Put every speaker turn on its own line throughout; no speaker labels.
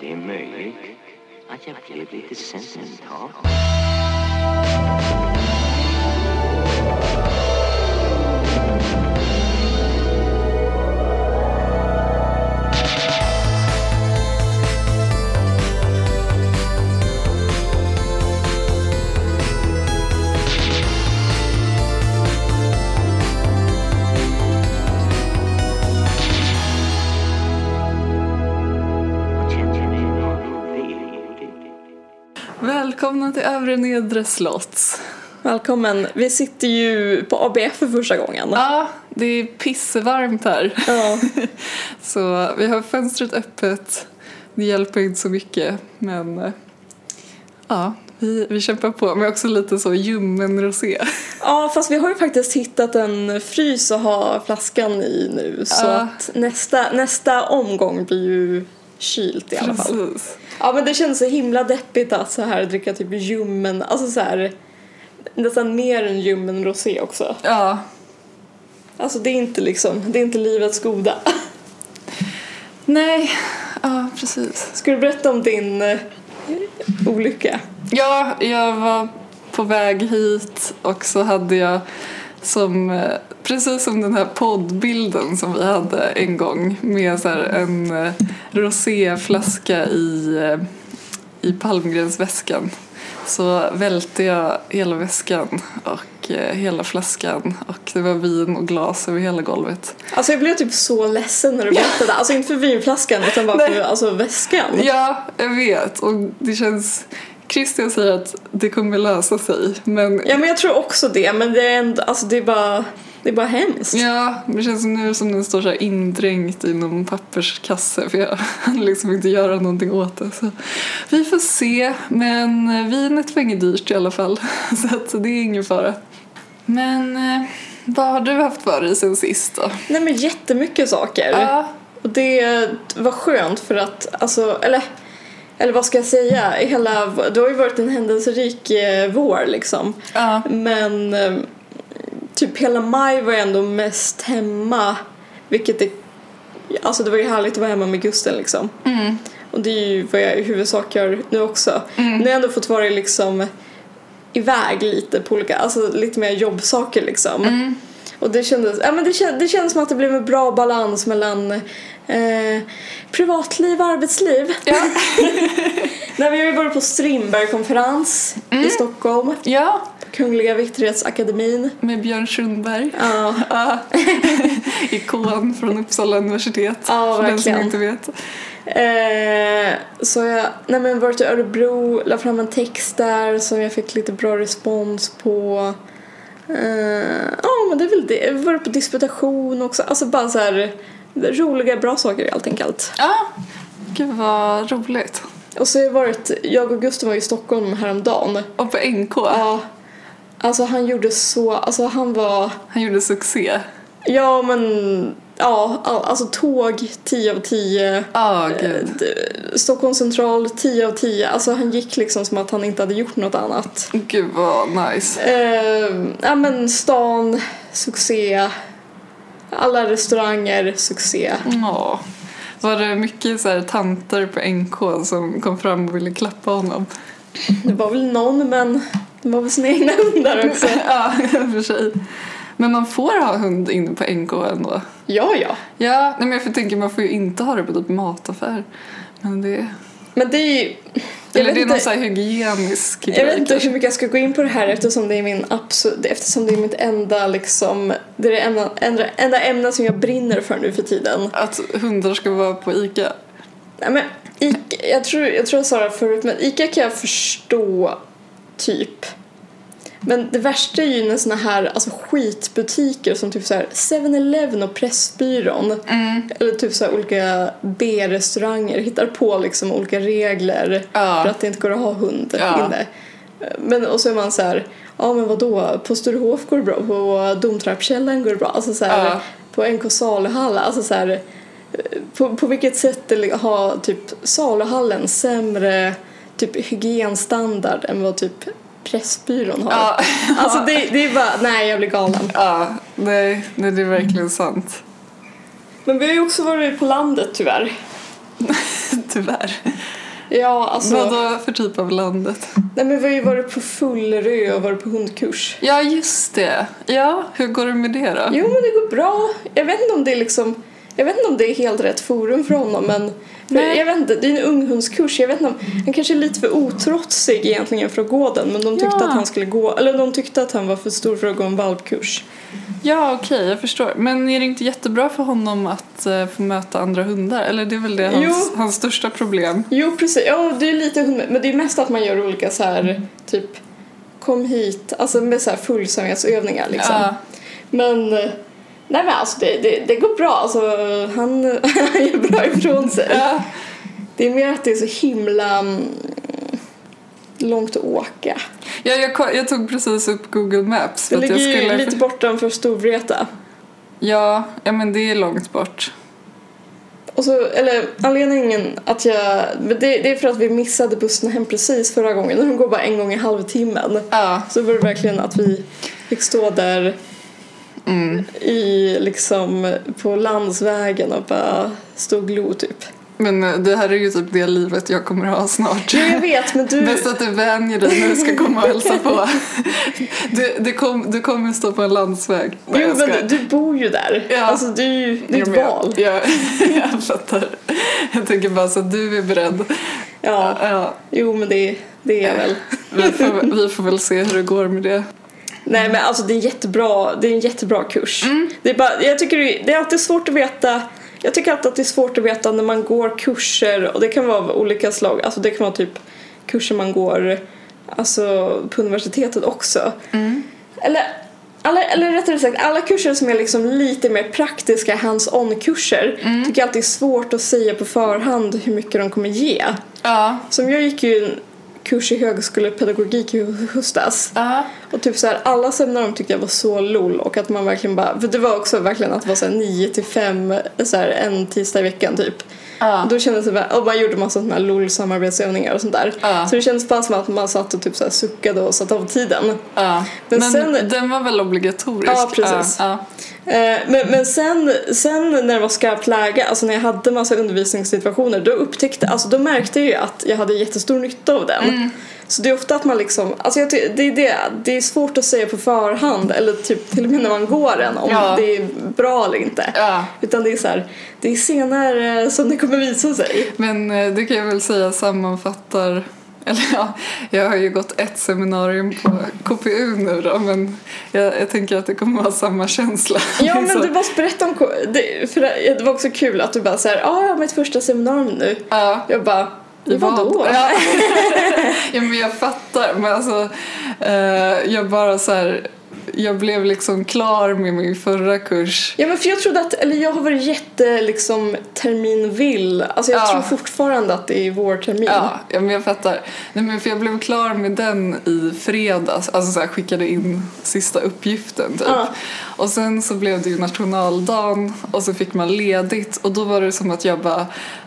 Det är möjligt att jag blev lite sentimental. Och kände mig väldigt
Välkomna till Övre Nedre slott.
Välkommen. Vi sitter ju på ABF för första gången.
Ja, det är pissvarmt här.
Ja.
Så vi har fönstret öppet. Det hjälper inte så mycket, men eh, ja, vi, vi kämpar på. Men också lite så ljummen rosé.
ja, fast vi har ju faktiskt hittat en frys att ha flaskan i nu så
Ja.
att nästa, nästa omgång blir ju kylt i alla fall.
Precis.
Ja, men det känns så himla deppigt att så här dricka typ ljummen, alltså så här nästan mer än ljummen rosé också.
Ja,
Alltså det är inte liksom, det är inte livets goda.
nej, ja precis.
Ska du berätta om din eh, olycka?
Ja, jag var på väg hit och så hade jag som, eh, precis som den här poddbilden som vi hade en gång med så här en eh, roséflaska i, eh, i palmgrensväskan så välte jag hela väskan och eh, hela flaskan och det var vin och glas över hela golvet.
Alltså jag blev typ så ledsen när du berättade. Alltså inte för vinflaskan utan bara för
Nej.
alltså, väskan.
Ja, jag vet och det känns Christian säger att det kommer lösa sig men
Ja men jag tror också det men det är ändå, alltså det är bara, det är bara hemskt.
Ja, det känns som nu som den står så här indränkt i någon papperskasse för jag hann liksom inte göra någonting åt det. Så vi får se, men eh, vinet var inget dyrt i alla fall så att det är ingen fara. Men eh, vad har du haft för dig sen sist då?
Nej men jättemycket saker.
Ja,
Och det var skönt för att, alltså, eller, eller vad ska jag säga, hela, det har ju varit en händelserik eh, vår liksom.
ja,
Men eh, typ hela maj var jag ändå mest hemma. Vilket är, alltså det var ju härligt att vara hemma med Gusten liksom.
mm,
Och det är ju vad jag i huvudsak gör nu också.
Mm.
Nu har jag ändå fått vara liksom iväg lite på olika, alltså lite mer jobbsaker liksom.
mm,
Och det kändes, ja men det, kän, det kändes som att det blev en bra balans mellan eh, privatliv och arbetsliv.
ja,
När vi har ju varit på Strindbergkonferens
Mm.
i Stockholm,
ja,
Kungliga Vikterhetsakademin.
med Björn Sundberg.
Ja,
Ja. Ikon från Uppsala universitet.
Ja,
för den som
verkligen.
inte vet.
Eh, så jag nej men varit i Örebro, la fram en text där som jag fick lite bra respons på. Eh, Ja, men det är väl det. Jag har varit på disputation också. Alltså bara så här roliga, bra saker helt enkelt.
Ja, gud vad roligt.
Och så har jag varit, jag och Gusten var i Stockholm häromdagen.
Och på NK.
Ja. Alltså han gjorde så, alltså han var,
Han gjorde succé.
ja men, ja, all- alltså tåg 10 av 10.
Ja, gud.
D- Stockholm central 10 av 10. Alltså han gick liksom som att han inte hade gjort något annat.
Gud vad nice.
Eh, ja men stan, succé. Alla restauranger, succé.
Ja. Var det mycket så här tanter på NK som kom fram och ville klappa honom?
Det var väl någon men det var väl sina egna hundar också.
ja, i och för sig. Men man får ha hund inne på NK ändå.
Ja, ja.
Ja, nej men jag får tänka man får ju inte ha det på typ mataffär. Men det...
Men det är ju... Jag
Eller
vet,
det är någon
inte,
så här hygienisk
jag vet
grej. typ,
inte hur mycket jag ska gå in på det här eftersom det är min absolut, eftersom det är mitt enda liksom, det är det enda, enda, enda ämne som jag brinner för nu för tiden.
Att hundar ska vara på ICA.
Nej, men Ica, jag, tror, jag tror jag sa det förut, men Ica kan jag förstå, typ. Men det värsta är ju när såna här alltså, skitbutiker som typ så här 7-Eleven och Pressbyrån
Mm.
eller typ så här olika B-restauranger hittar på liksom olika regler
Ja.
för att det inte går att ha hund
Ja.
inne. Men, och så är man så här, ja men vadå, på Sturehof går det bra, på Domtrappkällaren går det bra, alltså så här,
Ja.
på NK saluhall, alltså så här, på, på vilket sätt det- har typ saluhallen sämre typ hygienstandard än vad typ Pressbyrån har?
Ja,
Alltså det, det är bara, nej jag blir galen.
ja nej, nej, det är verkligen sant.
Men vi har ju också varit på landet tyvärr.
Tyvärr.
Ja, alltså.
Vadå för typ av landet?
Nej men vi har ju varit på Fullerö och varit på hundkurs.
Ja, just det. Ja, hur går det med det då?
Jo men det går bra. Jag vet inte om det är liksom jag vet inte om det är helt rätt forum för honom men för
Nej.
jag vet inte, det är en unghundskurs. Jag vet inte om, han kanske är lite för otrotsig egentligen för att gå den men de tyckte
Ja.
att han skulle gå, eller de tyckte att han var för stor för att gå en valpkurs.
Ja, okej, jag förstår. Men är det inte jättebra för honom att eh, få möta andra hundar? Eller det är väl det hans,
Jo.
hans största problem?
Jo precis, ja det är lite hund- men det är mest att man gör olika så här typ kom hit, alltså med så här fullsamhetsövningar liksom.
Ja.
Men eh, nej men alltså det, det, det går bra, alltså han, han gör bra ifrån sig.
Ja.
Det är mer att det är så himla mm, långt att åka.
Ja, jag, ko- jag tog precis upp Google Maps.
Det
att
ligger
jag
ju lite bortanför Storvreta.
ja, ja, men det är långt bort.
Och så, eller anledningen att jag... Men det, det är för att vi missade bussen hem precis förra gången. De går bara en gång i halvtimmen.
Ja,
Så var det verkligen att vi fick stå där
Mm.
i liksom på landsvägen och bara stå och glo typ.
men eh, det här är ju typ det livet jag kommer ha snart.
Jo jag vet men du...
Bäst att du vänjer dig när du ska komma och hälsa på. Du, du, kom, du kommer stå på en landsväg. Nej,
Jo
jag skojar.
men du bor ju där.
Ja.
Alltså du, är ju- det är
Jo,
ett
men jag-
val.
Jag, jag fattar. Jag tänker bara så att du är beredd.
Ja.
Ja,
Jo men det, det är jag väl.
vi, får, vi får väl se hur det går med det.
Nej men alltså det är jättebra, det är en jättebra kurs. Det, är bara, jag tycker det, är- det är alltid svårt att veta jag tycker alltid att det är svårt att veta när man går kurser och det kan vara av olika slag. Alltså det kan vara typ kurser man går alltså, på universitetet också. Eller, alla, eller rättare sagt, alla kurser som är liksom lite mer praktiska hands-on-kurser tycker jag alltid är svårt att säga på förhand hur mycket de kommer ge.
Ja.
Som jag gick ju en kurs i högskolepedagogik i höstas.
Ja.
Och typ så här, alla seminarium tyckte jag var så lol och att man verkligen bara, för det var också verkligen att det var så här 9 till 5 så här en tisdag i veckan typ.
Ja.
Då kändes det bara, och man gjorde massa sådana här lol samarbetsövningar och sånt där.
Ja.
Så det kändes bara som att man satt och typ så här suckade och satte av tiden.
ja. Men,
Men sen-
den var väl obligatorisk?
Ja, precis.
Ja,
Eh, Men, men sen, sen när det var skarpt läge, alltså när jag hade massa undervisningssituationer, då upptäckte, alltså då märkte jag ju att jag hade jättestor nytta av den. Så det är ofta att man liksom, alltså jag, ty- det, är det, det är svårt att säga på förhand eller typ till och med när man går den om
Ja.
det är bra eller inte.
ja.
Utan det är så här, det är senare eh, som det kommer visa sig.
Men eh, det kan jag väl säga sammanfattar eller ja, jag har ju gått ett seminarium på KPU nu då men jag, jag tänker att det kommer vara samma känsla.
Ja men
Liksom.
du bara berätta om, ko- det, för det det var också kul att du bara såhär, ja ah, jag har mitt första seminarium nu.
Ja.
Jag bara,
I
vadå?
vad? Ja. ja, men jag fattar. Men alltså, eh, jag bara så här, jag blev liksom klar med min förra kurs.
Ja men för jag trodde att, eller jag har varit jätte liksom terminvill. Alltså jag
Ja.
tror fortfarande att det är vårtermin.
Ja, ja men jag fattar. Nej, men för jag blev klar med den i fredags, alltså så här, skickade in sista uppgiften typ.
Ja.
Och sen så blev det ju nationaldagen och så fick man ledigt och då var det som att jag bara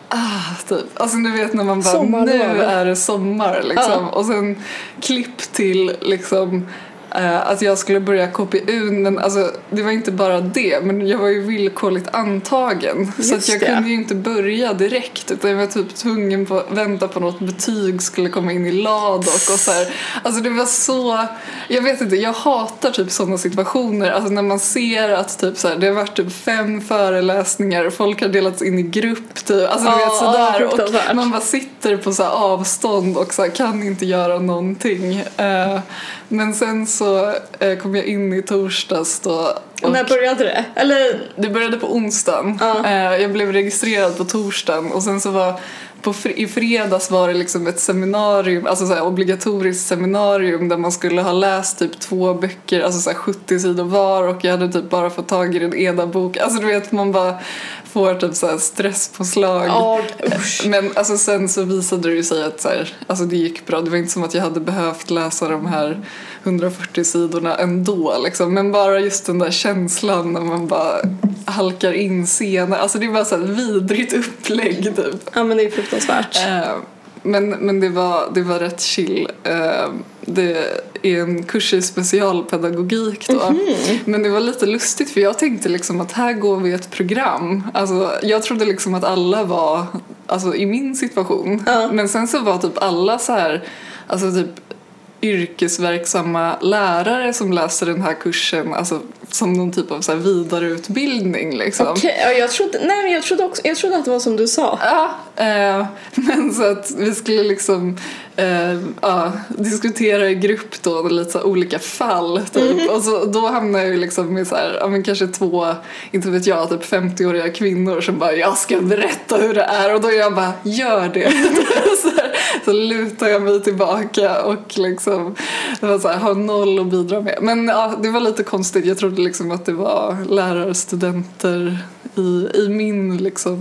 Ah, typ. Alltså du vet när man bara
Sommarlov.
nu är det sommar liksom.
Ja.
Och sen klipp till liksom eh, att jag skulle börja KPU men alltså det var inte bara det men jag var ju villkorligt antagen. så att
Just
jag
det.
kunde ju inte börja direkt utan jag var typ tvungen på att vänta på något betyg skulle komma in i Ladok och så här. Alltså det var så, jag vet inte, jag hatar typ sådana situationer. Alltså när man ser att typ så här, det har varit typ fem föreläsningar, folk har delats in i grupp typ. Alltså du
Ja,
vet
ja,
sådär.
fruktansvärt.
och man bara sitter på så här avstånd och så här, kan inte göra någonting. Eh, men sen så eh, kom jag in i torsdags då. och-
När började det? Eller
det började på onsdagen.
Ja.
Eh, Jag blev registrerad på torsdagen och sen så var på fr- i fredags var det liksom ett seminarium, alltså så här obligatoriskt seminarium där man skulle ha läst typ två böcker, alltså så här 70 sidor var och jag hade typ bara fått tag i den ena boken. Alltså du vet man bara får typ så här stresspåslag.
ja, usch.
Men alltså, sen så visade det ju sig att så här, alltså, det gick bra. Det var inte som att jag hade behövt läsa de här 140 sidorna ändå. Liksom. Men bara just den där känslan när man bara halkar in senare. Alltså det är bara så här vidrigt upplägg typ.
Ja men det är fruktansvärt.
Eh, Men, men det, var, det var rätt chill. Eh, Det är en kurs i specialpedagogik då. Men det var lite lustigt för jag tänkte liksom att här går vi ett program. Alltså, jag trodde liksom att alla var alltså, i min situation.
Ja.
Men sen så var typ alla så här, alltså typ yrkesverksamma lärare som läste den här kursen alltså, som någon typ av så här vidareutbildning. Liksom.
Okej, ja, jag, trodde, nej, men jag, trodde också, jag trodde att det var som du sa.
Ja, eh, men så att vi skulle liksom eh, ja, diskutera i grupp då lite så här olika fall typ. Och så, då hamnade jag ju liksom med så här, ja, men kanske två, inte vet jag, typ 50-åriga kvinnor som bara jag ska berätta hur det är och då är jag bara gör det. så, här, så lutar jag mig tillbaka och liksom det var så här, har noll att bidra med. Men ja, det var lite konstigt, jag trodde liksom att det var lärarstudenter i, i min liksom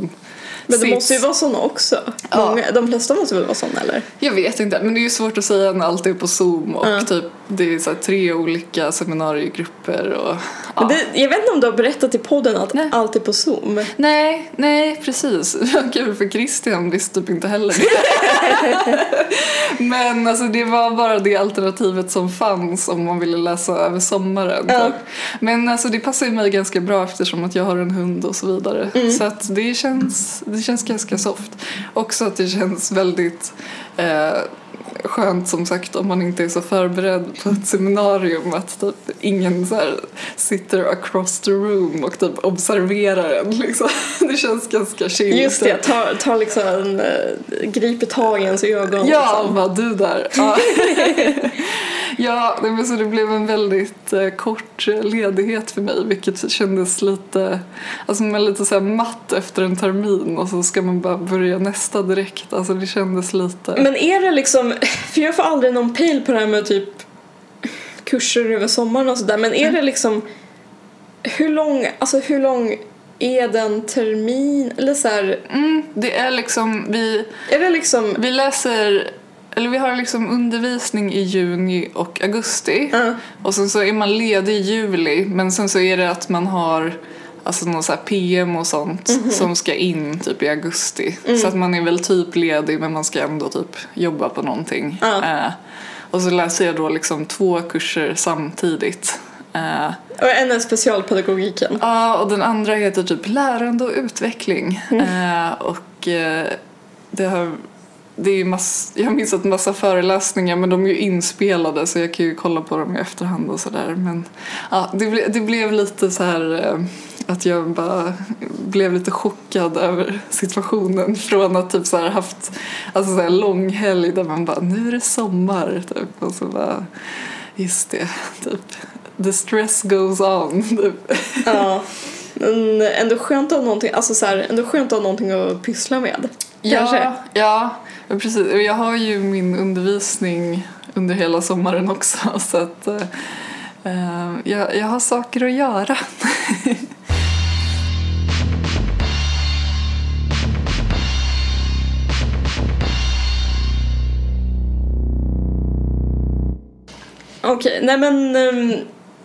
Men det
sits.
måste ju vara såna också.
Ja.
Många, de flesta måste väl vara såna eller?
Jag vet inte, men det är ju svårt att säga när allt är på Zoom och
Ja.
typ det är så här tre olika seminariegrupper och ja.
Men det, jag vet inte om du har berättat i podden att
Nej.
allt är på Zoom.
Nej, nej precis. Vad Kul för Christian visste typ inte heller det. men alltså det var bara det alternativet som fanns om man ville läsa över sommaren.
Ja.
Typ. Men alltså det passar ju mig ganska bra eftersom att jag har en hund och så vidare.
Mm.
Så att det känns, det känns ganska soft. Också att det känns väldigt eh, skönt som sagt om man inte är så förberedd på ett seminarium att typ ingen så här sitter across the room och typ observerar en liksom. Det känns ganska chill.
Just det, ta, ta liksom, eh, griper tag i ens ögon.
Ja,
liksom.
vad du där. Ja, ja nej, men så det blev en väldigt eh, kort eh, ledighet för mig vilket kändes lite, alltså man är lite så här matt efter en termin och så ska man bara börja nästa direkt. Alltså det kändes lite...
Men är det liksom, för jag får aldrig någon pejl på det här med typ kurser över sommaren och sådär, men är det liksom hur lång, alltså hur lång är den termin, eller så här,
Mm, det är liksom, vi,
är det liksom,
vi läser, eller vi har liksom undervisning i juni och augusti.
Ja.
Och sen så är man ledig i juli men sen så är det att man har alltså någon så här PM och sånt som ska in typ i augusti. Så att man är väl typ ledig men man ska ändå typ jobba på någonting.
Ja.
Eh, och så läser jag då liksom två kurser samtidigt. Eh,
och en är specialpedagogiken?
Ja, och den andra heter typ lärande och utveckling. Eh, och eh, det har, det är ju mass, jag har missat massa föreläsningar men de är ju inspelade så jag kan ju kolla på dem i efterhand och sådär. Men ja, det, ble, det blev lite så här eh, att jag bara blev lite chockad över situationen från att typ så här haft alltså så här lång helg där man bara nu är det sommar typ och så bara just det typ the stress goes on typ.
Ja. Men ändå skönt att ha någonting, alltså så här, ändå skönt att ha någonting att pyssla med. Kanske.
Ja, ja, ja, precis. Och Jag har ju min undervisning under hela sommaren också så att eh, eh, jag, jag har saker att göra.
Okej, nej men ehm,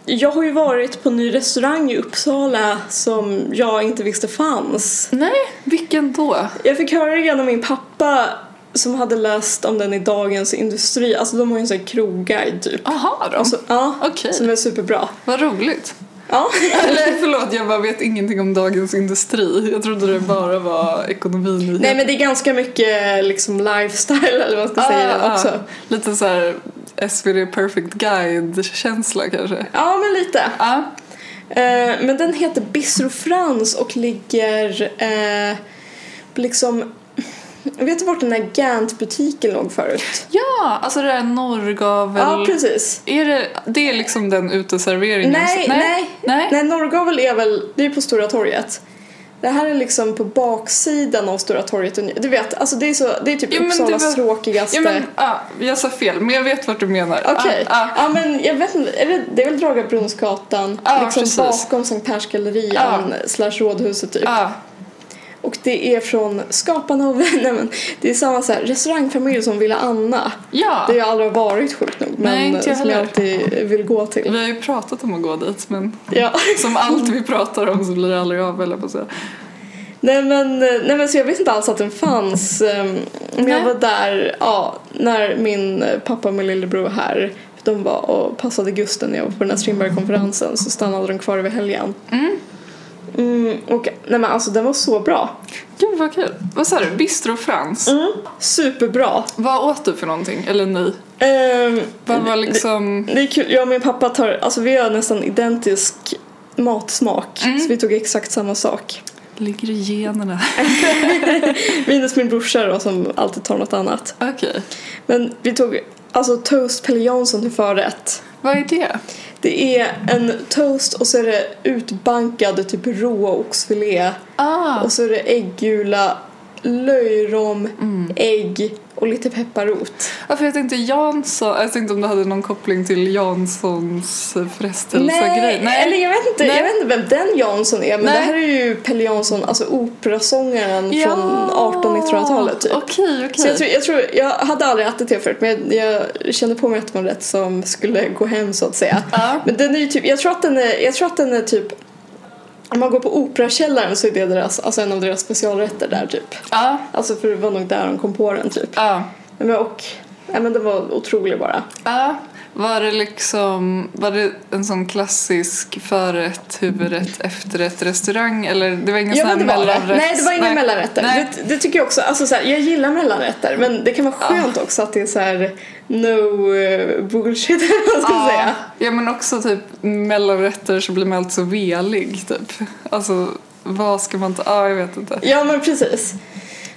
jag har ju varit på en ny restaurang i Uppsala som jag inte visste fanns.
Nej, vilken då?
Jag fick höra det genom min pappa som hade läst om den i Dagens Industri. Alltså de har ju en sån här krogguide typ.
Aha då.
Alltså, ja,
Okej.
Som är superbra.
Vad roligt.
Ja.
Eller förlåt, jag bara vet ingenting om Dagens Industri. Jag trodde det bara var ekonomin.
Nej men det är ganska mycket liksom lifestyle eller vad man ska
Ah,
säga också.
Lite så här SVD Perfect Guide-känsla kanske.
Ja men lite.
Ja,
Eh, men den heter Bistro Frans och ligger eh, liksom... Vet du vart den där Gant-butiken låg förut?
ja alltså det där norrgavel...
Ja, precis.
Är det, det är liksom den uteserveringen?
Nej,
nej.
nej.
nej.
Nej, Norrgavel är väl... Det är på Stora torget. Det här är liksom på baksidan av Stora torget. Du vet, alltså det är, så, det är typ
Ja, men det
Uppsalas
var-
tråkigaste...
Ja, men, ah, jag sa fel, men jag vet vad du menar.
Okej.
Ah, ah,
Ja, men jag vet inte. Är det, det är väl Dragarbrunnsgatan?
Ja,
liksom
precis.
bakom Sankt Persgallerian slash Rådhuset typ.
ah.
Och det är från skaparna av nej, men Det är samma så här, restaurangfamilj som Villa Anna.
Ja,
Det har jag aldrig varit sjukt nog men
Nej, inte jag
som jag
heller.
alltid vill gå till.
vi har ju pratat om att gå dit, men
Ja.
som allt vi pratar om så blir det aldrig av, eller på att säga.
Nej, men, nej men så jag visste inte alls att den fanns. ehm, Men jag
Nej.
var där ja, när min pappa och min lillebror var här. De var och passade Gusten när jag var på den här Strindberg-konferensen så stannade de kvar över helgen. Mm, och, nej men alltså den var så bra.
Gud vad kul. Vad sa du? Bistro Frans?
Mm. Superbra.
Vad åt du för någonting? Eller ni?
Ehm,
Vad var liksom...
det är kul, jag och min pappa tar, alltså vi har nästan identisk matsmak. Så vi tog exakt samma sak.
Ligger i generna?
Minus min brorsa då som alltid tar något annat.
Okej.
Men vi tog alltså toast Pelle Jansson till förrätt.
Vad är det?
Det är en toast och så är det utbankad typ rå oxfilé.
Ah.
Och så är det ägggula, löjrom,
Mm.
ägg och lite pepparrot.
Ja, för jag tänkte Jansson, jag tänkte om det hade någon koppling till Janssons eh, frestelse-grej.
eller jag vet, inte,
Nej.
jag vet inte vem den Jansson är men
Nej.
det här är ju Pelle Jansson, alltså operasångaren från 1800-1900-talet typ.
Okej, okej.
Så jag, tror, jag, tror, jag hade aldrig ätit det förut men jag, jag kände på mig att det var en rätt som skulle gå hem så att säga.
Ja.
Men den är ju typ, jag tror att den är, jag tror att den är typ om man går på Operakällaren så är det deras, alltså en av deras specialrätter där typ.
Ja,
Alltså för det var nog där de kom på den typ.
ja,
Men och, nej men den var otrolig bara.
ja. Var det liksom, var det en sån klassisk förrätt, huvudrätt, efterrätt, restaurang eller det var ingen
Ja
sån här
men det var det.
mellanrätt?
Nej det var inga mellanrätter.
Nej.
Det, det tycker jag också, alltså så här, jag gillar mellanrätter men det kan vara skönt också att det är så här no eh, bullshit eller vad man ska säga.
Ja men också typ mellanrätter så blir man alltid så velig typ. Alltså vad ska man ta, ja jag vet inte.
Ja men precis.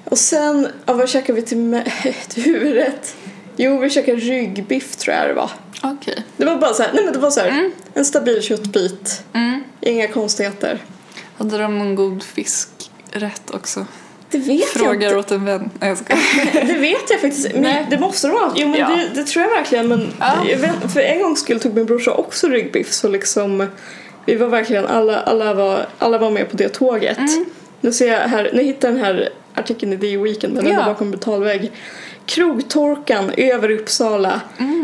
Och sen, ja, vad käkar vi till, me- till huvudrätt? Jo vi käkade ryggbiff tror jag det var.
Okej.
Det var bara så här, nej men det var så här, en stabil köttbit.
Mm.
Inga konstigheter.
Hade de någon god fiskrätt också?
Det vet
Frågar
jag
åt en vän. Nej jag skojar.
inte. Det vet jag faktiskt men
Nej.
Det måste de ha. Jo men
Ja.
det, det tror jag verkligen. Men
Ja.
jag vet, för en gångs skull tog min brorsa också ryggbiff så liksom vi var verkligen, alla, alla, var, alla var med på det tåget. Nu ser jag här, nu hittar jag den här artikeln i The Weekend men den
Ja.
var bakom betalvägg. Krogtorkan över Uppsala.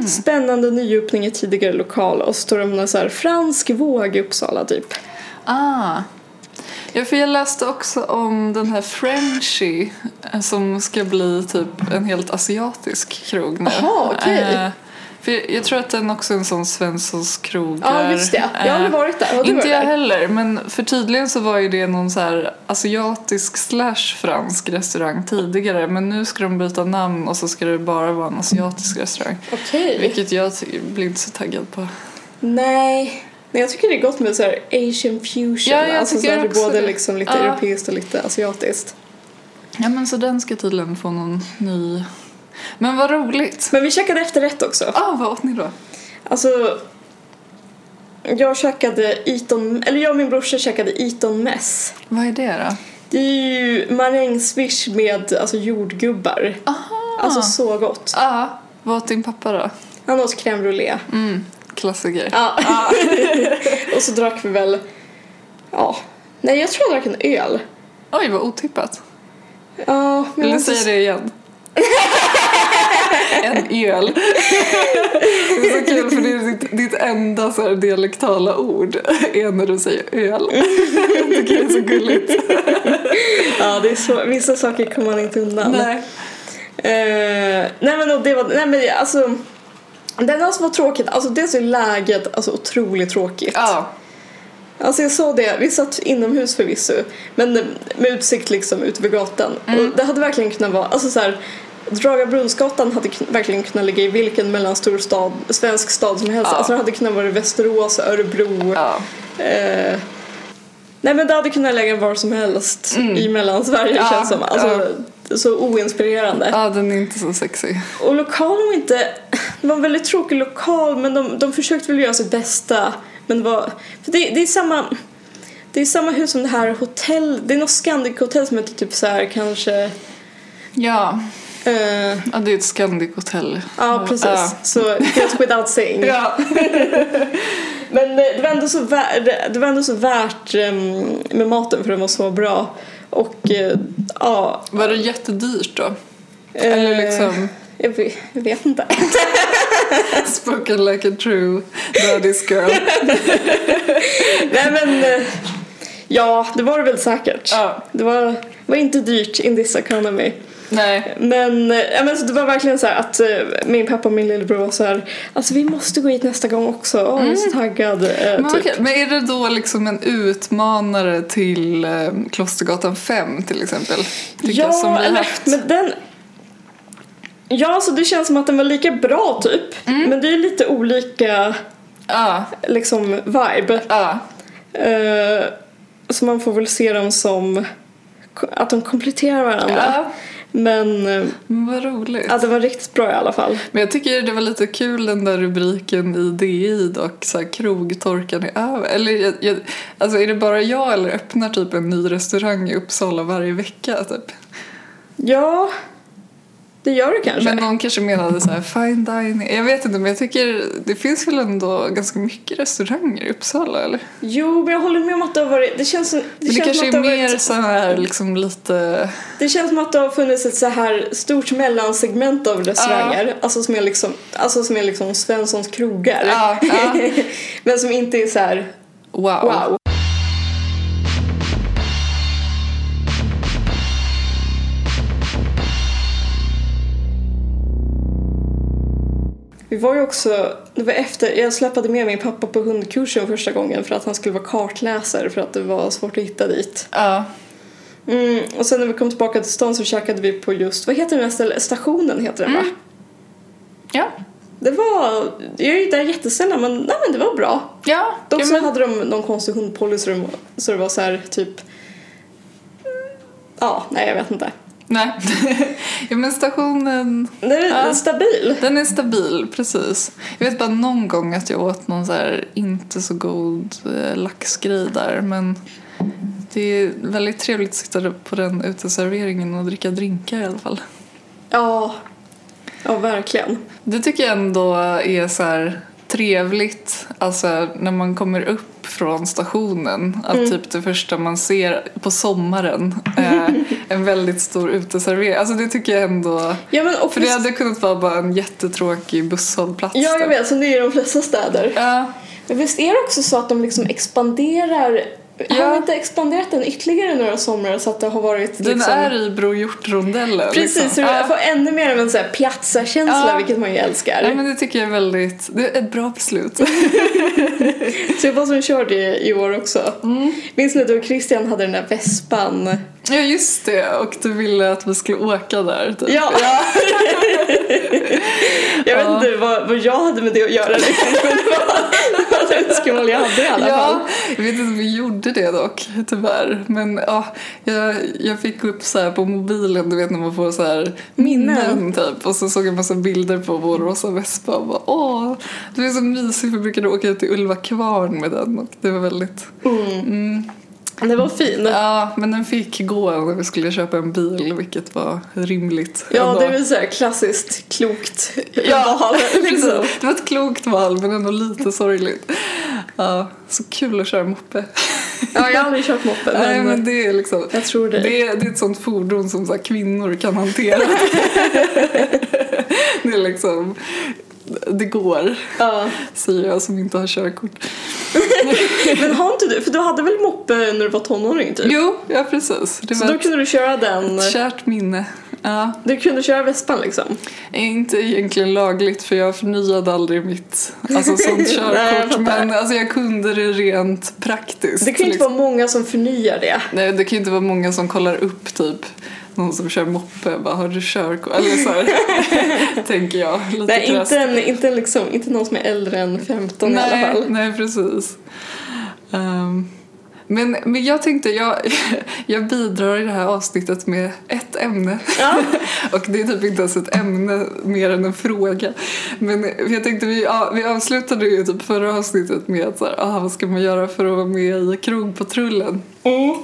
Spännande nyöppning i tidigare lokal och så står det om någon så här fransk våg i Uppsala typ.
Ah. Ja, för jag läste också om den här Frenchy eh, som ska bli typ en helt asiatisk krog nu.
Jaha, okej.
Eh, för jag, jag tror att den också är en sån Svenssons krog.
Ja
där.
just det, jag har
Eh,
aldrig varit där. Har du
inte
varit
jag
där?
heller, men för tydligen så var ju det någon så här asiatisk slash fransk restaurang tidigare men nu ska de byta namn och så ska det bara vara en asiatisk restaurang.
Okej.
Vilket jag ty- blir inte så taggad på.
Nej. Nej, jag tycker det är gott med så här asian fusion.
Ja, jag
alltså så
tycker
här, det är
också
både
det.
liksom lite
Ja.
europeiskt och lite asiatiskt.
Ja men så den ska tydligen få någon ny... Men vad roligt!
Men vi käkade efterrätt också.
Ah, vad åt ni då?
Alltså, jag käkade Eton, eller jag och min brorsa käkade Eton mess.
Vad är det då?
Det är ju marängsviss med alltså jordgubbar.
Ah. Aha!
Alltså så gott.
ah, vad åt din pappa då?
Han åt crème brûlée.
Mm, Ah. klassiker.
Ja. och så drack vi väl, ja. Nej, jag tror jag drack en öl.
Oj, vad otippat.
Ja, Ah. men
Vill du
jag måste-
säga det igen? en öl. Det är så kul för det är ditt, ditt enda så här dialektala ord är när du säger öl. Jag tycker det är så gulligt.
Ja, det är så, vissa saker kommer man inte undan.
Nej.
Eh, nej men och det var, nej men alltså det enda som var tråkigt, alltså dels är läget alltså otroligt tråkigt.
Ja.
Alltså jag sa det, vi satt inomhus förvisso, men eh, med utsikt liksom ut över gatan.
Mm.
Och det hade verkligen kunnat vara, alltså så här, Dragarbrunnsgatan hade kun- verkligen kunnat ligga i vilken mellanstor stad, svensk stad som helst.
Ja.
Alltså det hade kunnat vara Västerås, Örebro.
ja.
Eh, nej men det hade kunnat lägga var som helst i mellansverige
Mm. Ja,
känns som. Alltså, Så oinspirerande.
Ja, den är inte så sexig.
Och lokalen var inte... Det var en väldigt tråkig lokal men de, de försökte väl göra sitt bästa. Men det var... För det, det är samma... Det är samma hus som det här hotell... Det är något Scandic-hotell som heter typ så här kanske...
Ja,
eh,
ja det är ett Scandic-hotell.
ja, precis. Så helt without saying.
Ja.
Men eh, det var ändå så värt, det var ändå så värt ehm, med maten för den var så bra. Och eh, ja...
Var det jättedyrt då? Eller
eh,
liksom,
Jag vet, jag vet inte.
spoken like a true daddy's girl.
Nej men... eh, Ja, det var det väl säkert.
Ja.
Det var, var inte dyrt in this economy.
Nej.
Men, eh, ja, men så det var verkligen så här att eh, min pappa och min lillebror var så här, alltså vi måste gå hit nästa gång också. Åh, jag är så taggad. Eh,
Mm. Men,
typ.
okej, men är det då liksom en utmanare till eh, Klostergatan 5 till exempel? Tycker jag, som vi har
eller-
haft.
men den... Ja, så det känns som att den var lika bra typ.
Mm.
Men det är lite olika
Ja,
liksom vibe.
ja.
Eh, så man får väl se dem som att de kompletterar varandra.
Ja.
Men eh,
Men vad roligt.
ja, det var riktigt bra i alla fall.
Men jag tycker det var lite kul den där rubriken i DI dock, så här, krogtorkan är över. Eller jag, jag, alltså är det bara jag eller öppnar typ en ny restaurang i Uppsala varje vecka typ?
Ja, det gör det kanske.
Men någon kanske menade så här fine dining. Jag vet inte men jag tycker det finns väl ändå ganska mycket restauranger i Uppsala eller?
Jo, men jag håller med om att det har varit... Det känns, som- det
Men det
känns som
kanske
att det
är
har
mer
varit,
så här liksom lite
det känns som att det har funnits ett så här stort mellansegment av restauranger. Alltså som är liksom, alltså som är liksom Svenssons krogar.
Ja, ja.
men som inte är så här
wow.
wow. Vi var ju också, det var efter, jag släpade med min pappa på hundkursen första gången för att han skulle vara kartläsare för att det var svårt att hitta dit.
Ja.
Mm, och sen när vi kom tillbaka till stan så käkade vi på just, vad heter den här stället? Stationen heter den va?
Ja.
Det var, jag är ju där jättesällan men, nej men det var bra.
Ja.
Dock
ja,
så
men-
hade de någon konstig hundpolicy de- så det var så här typ... Ja, nej jag vet inte.
Nej. ja men stationen
Den är
Ja.
stabil.
Den är stabil, precis. Jag vet bara någon gång att jag åt någon så här inte så god eh, laxgrej där men det är väldigt trevligt att sitta på den uteserveringen och dricka drinkar i alla fall.
Ja. Ja, verkligen.
Det tycker jag ändå är så här trevligt, alltså när man kommer upp från stationen att
Mm.
typ det första man ser på sommaren är en väldigt stor uteservering. Alltså det tycker jag ändå
Ja, men och
för det hade kunnat vara bara en jättetråkig busshållplats.
Ja, jag
typ.
vet. Som det är i de flesta städer.
Ja.
Men visst är det också så att de liksom expanderar Har
Ja.
de inte expanderat den ytterligare några somrar så att det har varit
Den
liksom...
är i Bro Hjort-rondellen.
Precis, så
liksom.
du
Ja.
får ännu mer av en sån här piazzakänsla,
Ja.
vilket man ju älskar.
Nej, men det tycker jag är väldigt... Det är ett bra beslut.
Så jag bara som körde i, i år också.
Mm.
Minns ni då Christian hade den där vespan?
ja, just det. Och du ville att vi skulle åka där. Typ.
Ja. jag vet inte vad, vad jag hade med det att göra riktigt men det var, det var ett önskemål jag hade i alla fall.
Ja, jag vet inte om vi gjorde det dock, tyvärr. Men ja, jag, jag fick upp så här på mobilen, du vet när man får så här minnen typ. Och så såg jag en massa bilder på vår rosa vespa och bara åh, det är så mysigt. Vi brukade åka ut till Ulva kvarn med den och det var väldigt...
Mm. Det var fin. Ja,
Ja, men den fick gå när vi skulle köpa en bil, vilket var rimligt. ändå.
det är väl såhär klassiskt klokt
Ja,
val. Liksom.
precis. Det var ett klokt val men ändå lite sorgligt. Ja, så kul att köra moppe.
Ja, jag har aldrig kört moppe men,
Nej men det är liksom...
jag tror det.
Det är, det är ett sånt fordon som så här, kvinnor kan hantera. det är liksom... Det går,
Ja.
säger jag som inte har körkort.
Men har inte du, för du hade väl moppe när du var tonåring typ?
Jo, ja precis. Det
Så
var
då
ett
kunde du köra den,
kärt minne. Ja,
du kunde köra vespan liksom?
inte egentligen lagligt för jag förnyade aldrig mitt alltså, sånt
Nej, jag
körkort.
fattar.
men alltså, jag kunde det rent praktiskt.
Det kan ju inte
liksom.
vara många som förnyar det.
Nej, det kan ju inte vara många som kollar upp typ någon som kör moppe bara har du körkort? Eller så här, tänker jag lite
Nej,
krasst.
inte, en, inte, en liksom, inte någon som är äldre än 15 i alla
nej,
fall.
nej, precis. Ehm, men, men jag tänkte, jag, jag bidrar i det här avsnittet med ett ämne.
Ja.
Och det är typ inte ens ett ämne mer än en fråga. Men jag tänkte, vi, ja, vi avslutade ju typ förra avsnittet med att så här, ah, vad ska man göra för att vara med i krogpatrullen?
Mm.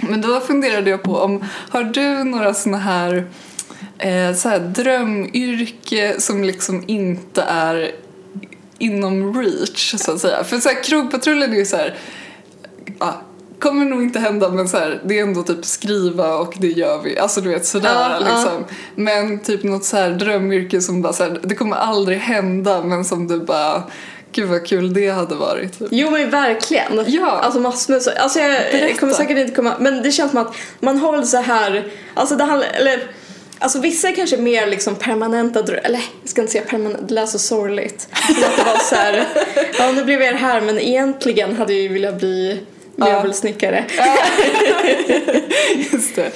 Men då funderade jag på om har du några såna här, eh, så här drömyrke som liksom inte är inom reach så att säga. För så här, krogpatrullen är ju så här, ja, kommer nog inte hända men så här, det är ändå typ skriva och det gör vi. Alltså du vet sådär
Ja, ja.
liksom. Men typ något så här drömyrke som bara så här, det kommer aldrig hända men som du bara, gud vad kul det hade varit. Typ.
Jo men verkligen.
Ja.
Alltså massor med så. Alltså jag
Berätta.
kommer säkert inte komma, men det känns som att man har väl så här, alltså det handlar, eller Alltså vissa är kanske mer liksom permanenta drömmar, eller jag ska inte säga permanent, det lät så sorgligt. Men att det var så här, ja nu blev jag det här men egentligen hade jag ju velat bli
Ja.
möbelsnickare.
Just det.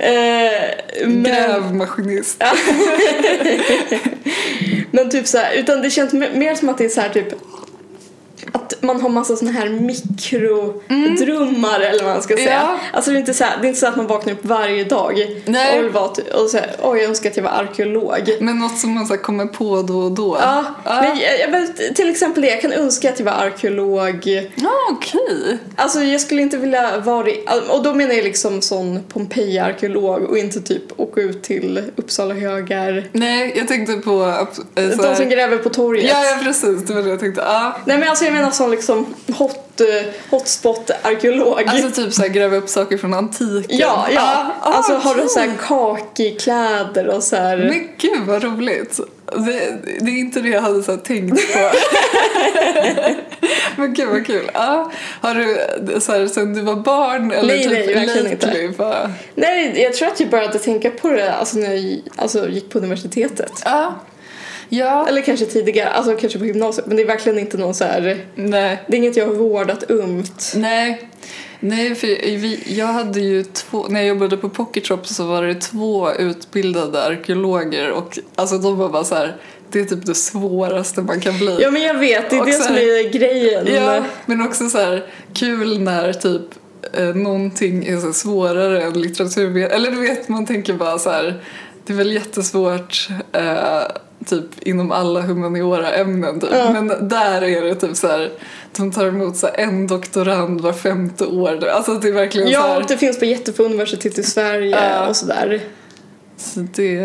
Eh, men,
Grävmaskinist.
men typ så här, utan det känns me- mer som att det är så här typ att man har massa såna här mikrodrömmar eller vad man ska säga.
Ja.
Alltså det är, inte så här, det är inte så att man vaknar upp varje dag
Nej.
och vill vara ty- och så här, oj jag önskar att jag var arkeolog.
Men något som man så här kommer på då och då.
Ja,
Ja.
Men, jag, jag, men till exempel det. Jag kan önska att jag var arkeolog.
Ja, okej.
Alltså jag skulle inte vilja vara i- Och då menar jag liksom sån Pompeji-arkeolog och inte typ åka ut till Uppsala högar.
Nej, jag tänkte på... eh, så
De
här-
som gräver på torget.
Ja, ja, precis. Det var det jag tänkte. Ja.
Nej men alltså jag menar sån liksom hot, eh, hotspot-arkeolog.
Alltså typ så här, gräva upp saker från antiken.
ja, ja.
Ah, ah,
alltså har de
kul.
så här kakikläder och så här.
Men gud vad roligt. Det, det är inte det jag hade så här tänkt på. Men gud vad kul. Ja, har du så här, sen du var barn eller
Nej,
typ
nej, verkligen inte.
lately bara-
Nej, jag tror att jag började tänka på det alltså när jag alltså, gick på universitetet.
Ja. Ja.
Eller kanske tidigare, alltså kanske på gymnasiet. Men det är verkligen inte någon så här...
Nej.
Det är inget jag har vårdat ömt.
Nej. Nej, för vi, jag hade ju två, när jag jobbade på Pocket Shop så var det två utbildade arkeologer och alltså de var bara så här, det är typ det svåraste man kan bli.
Ja men jag vet, det är
Och
det
så
som
här-
är grejen.
Ja, men också så här kul när typ eh, någonting är så här svårare än litteratur. Eller du vet, man tänker bara så här, det är väl jättesvårt eh, typ inom alla humaniora ämnen typ.
Ja.
Men där är det typ så här, de tar emot så här, en doktorand var femte år. Alltså det är verkligen så
Ja, typ.
här.
och det finns på jättefå universitet i Sverige
Ja.
och sådär.
Så det,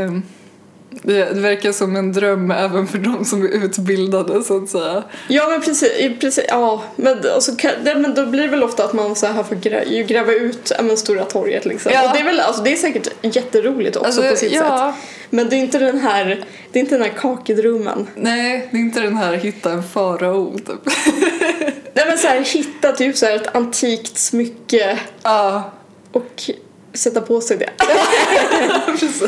det, det verkar som en dröm även för de som är utbildade så att säga.
Ja men precis, precis ja. Men, och så kan, det, men då blir det väl ofta att man så här får grä, ju gräva ut ja, men, Stora torget liksom.
Ja.
Och det är väl, alltså det är säkert jätteroligt också på sitt sätt.
Alltså, ja,
Men det är inte den här, det är inte den här kakedrömmen.
Nej, det är inte den här hitta en farao typ.
Nej men såhär hitta typ så här ett antikt smycke
Ja,
och sätta på sig det.
precis.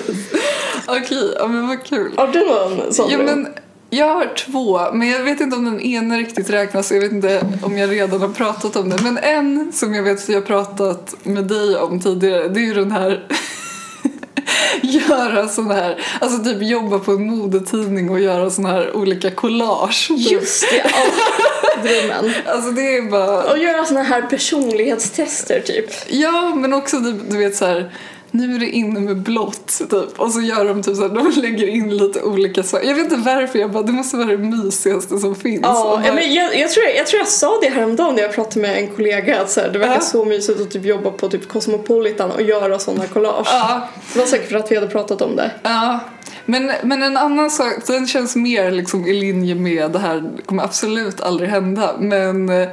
Okej, ja, men vad kul.
Har du någon sån
Ja,
dröm?
men jag har två, men jag vet inte om den ena riktigt räknas. Jag vet inte om jag redan har pratat om den. Men en som jag vet att jag har pratat med dig om tidigare, det är ju den här göra sån här, alltså typ jobba på en modetidning och göra sån här olika collage. typ.
Just det, ja. drömmen.
Alltså det är bara
Och göra såna här personlighetstester typ.
Ja, men också du, du vet så här. Nu är det inne med blått typ. Och så gör de typ så här, de lägger in lite olika saker. Jag vet inte varför, jag bara det måste vara det mysigaste som finns. Och
Ja,
bara-
ja, men jag, jag, tror jag, jag tror jag sa det häromdagen när jag pratade med en kollega att så här, det verkar
Ja.
så mysigt att typ jobba på typ Cosmopolitan och göra såna collage.
ja,
Det var säkert för att vi hade pratat om det.
ja. Men, men en annan sak, den känns mer liksom i linje med det här, det kommer absolut aldrig hända. Men eh,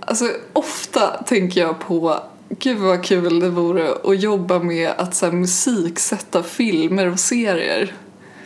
alltså ofta tänker jag på Gud vad kul det vore att jobba med att så här, musiksätta filmer och serier.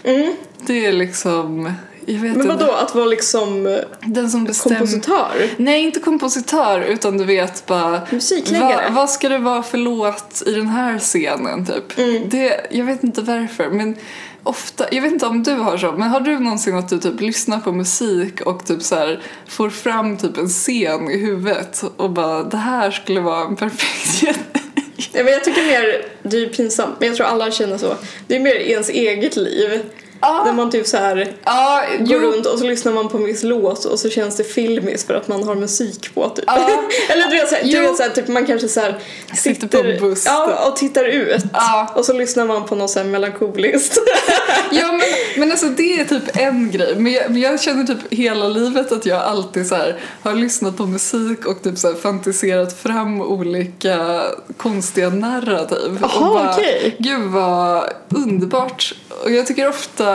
Mm.
Det är liksom, jag vet
Men
inte.
vadå, att vara liksom eh,
Den som bestämmer.
kompositör?
Nej, inte kompositör utan du vet bara
Musikläggare?
va- vad ska det vara för låt i den här scenen typ?
Mm.
Det, jag vet inte varför men ofta, jag vet inte om du har så, men har du någonsin att du typ lyssnar på musik och typ så här får fram typ en scen i huvudet och bara det här skulle vara en perfekt
Ja, men jag tycker mer, det är ju pinsamt, men jag tror alla känner så. Det är mer ens eget liv.
Ja.
Där man typ så här
Ja,
går
jo.
runt och så lyssnar man på en viss låt och så känns det filmiskt för att man har musik på typ.
Ja.
Eller du vet, såhär, du
Jo.
vet såhär, typ man kanske såhär
Sitter på en buss, typ.
ja, och tittar ut
Ja.
och så lyssnar man på något såhär melankoliskt.
Ja men, men alltså det är typ en grej. Men jag, men jag känner typ hela livet att jag alltid så här, har lyssnat på musik och typ så här, fantiserat fram olika konstiga narrativ.
Jaha,
och bara,
okej.
Gud vad underbart. Och jag tycker ofta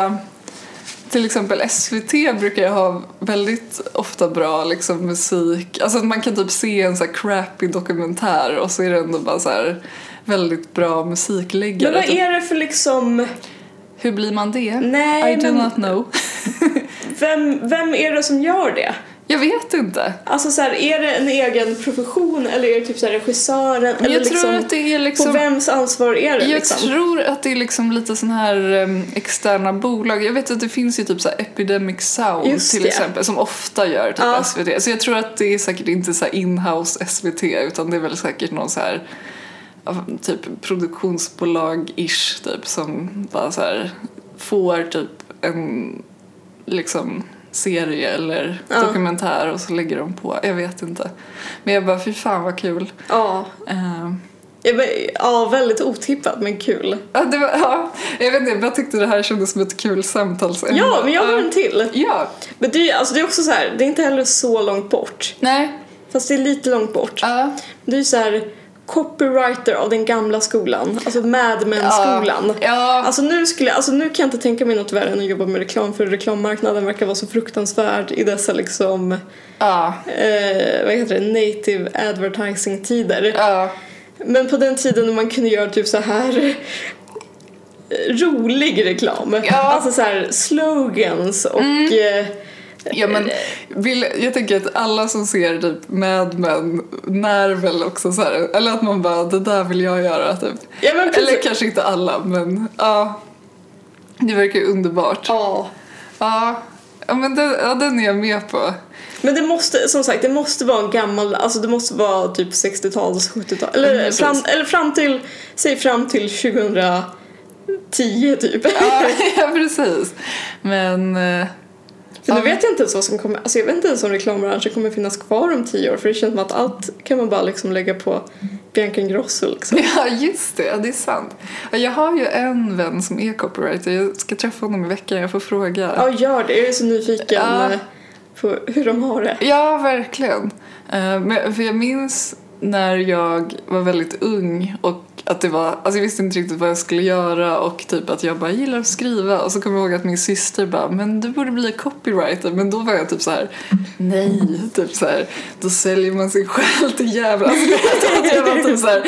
till exempel SVT brukar jag ha väldigt ofta bra liksom, musik. Alltså att man kan typ se en så här crappy dokumentär och så är det ändå bara så här väldigt bra musikläggare.
men vad
Typ,
är det för liksom,
Hur blir man det?
nej
I do
men
not know.
vem, vem är det som gör det?
Jag vet inte.
Alltså så här, är det en egen profession eller är det typ så här regissören?
Men
eller
jag
liksom,
tror att det är
På
liksom...
vems ansvar är det
Jag
liksom?
tror att det är liksom lite sån här em, externa bolag. Jag vet att det finns ju typ så här Epidemic Sound
Just
till
det.
exempel som ofta gör typ
Ja.
SVT. Så jag tror att det är säkert inte så här inhouse SVT utan det är väl säkert någon så här ja, typ produktionsbolag-ish typ som bara så här får typ en liksom serie eller
Ja.
dokumentär och så lägger de på. Jag vet inte. Men jag bara fy fan vad kul.
Ja.
Ehm,
Jag bara- ja, väldigt otippat men kul.
Ja, det var, ja, jag vet inte, jag bara tyckte det här kändes som ett kul samtalsämne.
Ja, men jag har en till.
Ja,
Men det är, alltså, det är också så här, det är inte heller så långt bort.
nej,
Fast det är lite långt bort.
ja.
Det är ju så här copywriter av den gamla skolan. Alltså Mad Men-skolan.
Ja,
Alltså nu, skulle, alltså nu kan jag inte tänka mig något värre än att jobba med reklam för reklammarknaden verkar vara så fruktansvärd i dessa liksom,
ja,
eh, vad heter det, native advertising-tider.
ja.
Men på den tiden när man kunde göra typ så här eh, rolig reklam.
Ja. Mm.
Alltså så här slogans och eh,
ja men vill, jag tänker att alla som ser typ Mad Men när väl också så här, eller att man bara det där vill jag göra typ.
ja men precis.
Eller kanske inte alla, men ja. Det verkar ju underbart.
Ja.
Ja, ja men den, ja, den är jag med på.
Men det måste, som sagt, det måste vara en gammal, alltså det måste vara typ 60-tal, 70-tal. Eller,
Mm, precis.
fram, eller fram till, säg fram till 2010 typ.
Ja, ja precis. Men eh,
För nu
Ja.
vet jag inte ens vad som kommer, alltså jag vet inte ens om reklambranschen kommer finnas kvar om tio år för det känns som att allt kan man bara liksom lägga på Bianca Ingrosso liksom.
Ja, just det. Ja, det är sant. Ja, Jag har ju en vän som är copywriter. Jag ska träffa honom i veckan. Jag får fråga.
Ja, gör det. Jag är så nyfiken
Ja.
eh, på hur de har det.
Ja, verkligen. Eh, Men, för jag minns när jag var väldigt ung och att det var, alltså jag visste inte riktigt vad jag skulle göra och typ att jag bara gillar att skriva och så kommer jag ihåg att min syster bara men du borde bli copywriter men då var jag typ så här nej, typ så här då säljer man sin själ till djävulen. Alltså jag tänkte jag var typ så här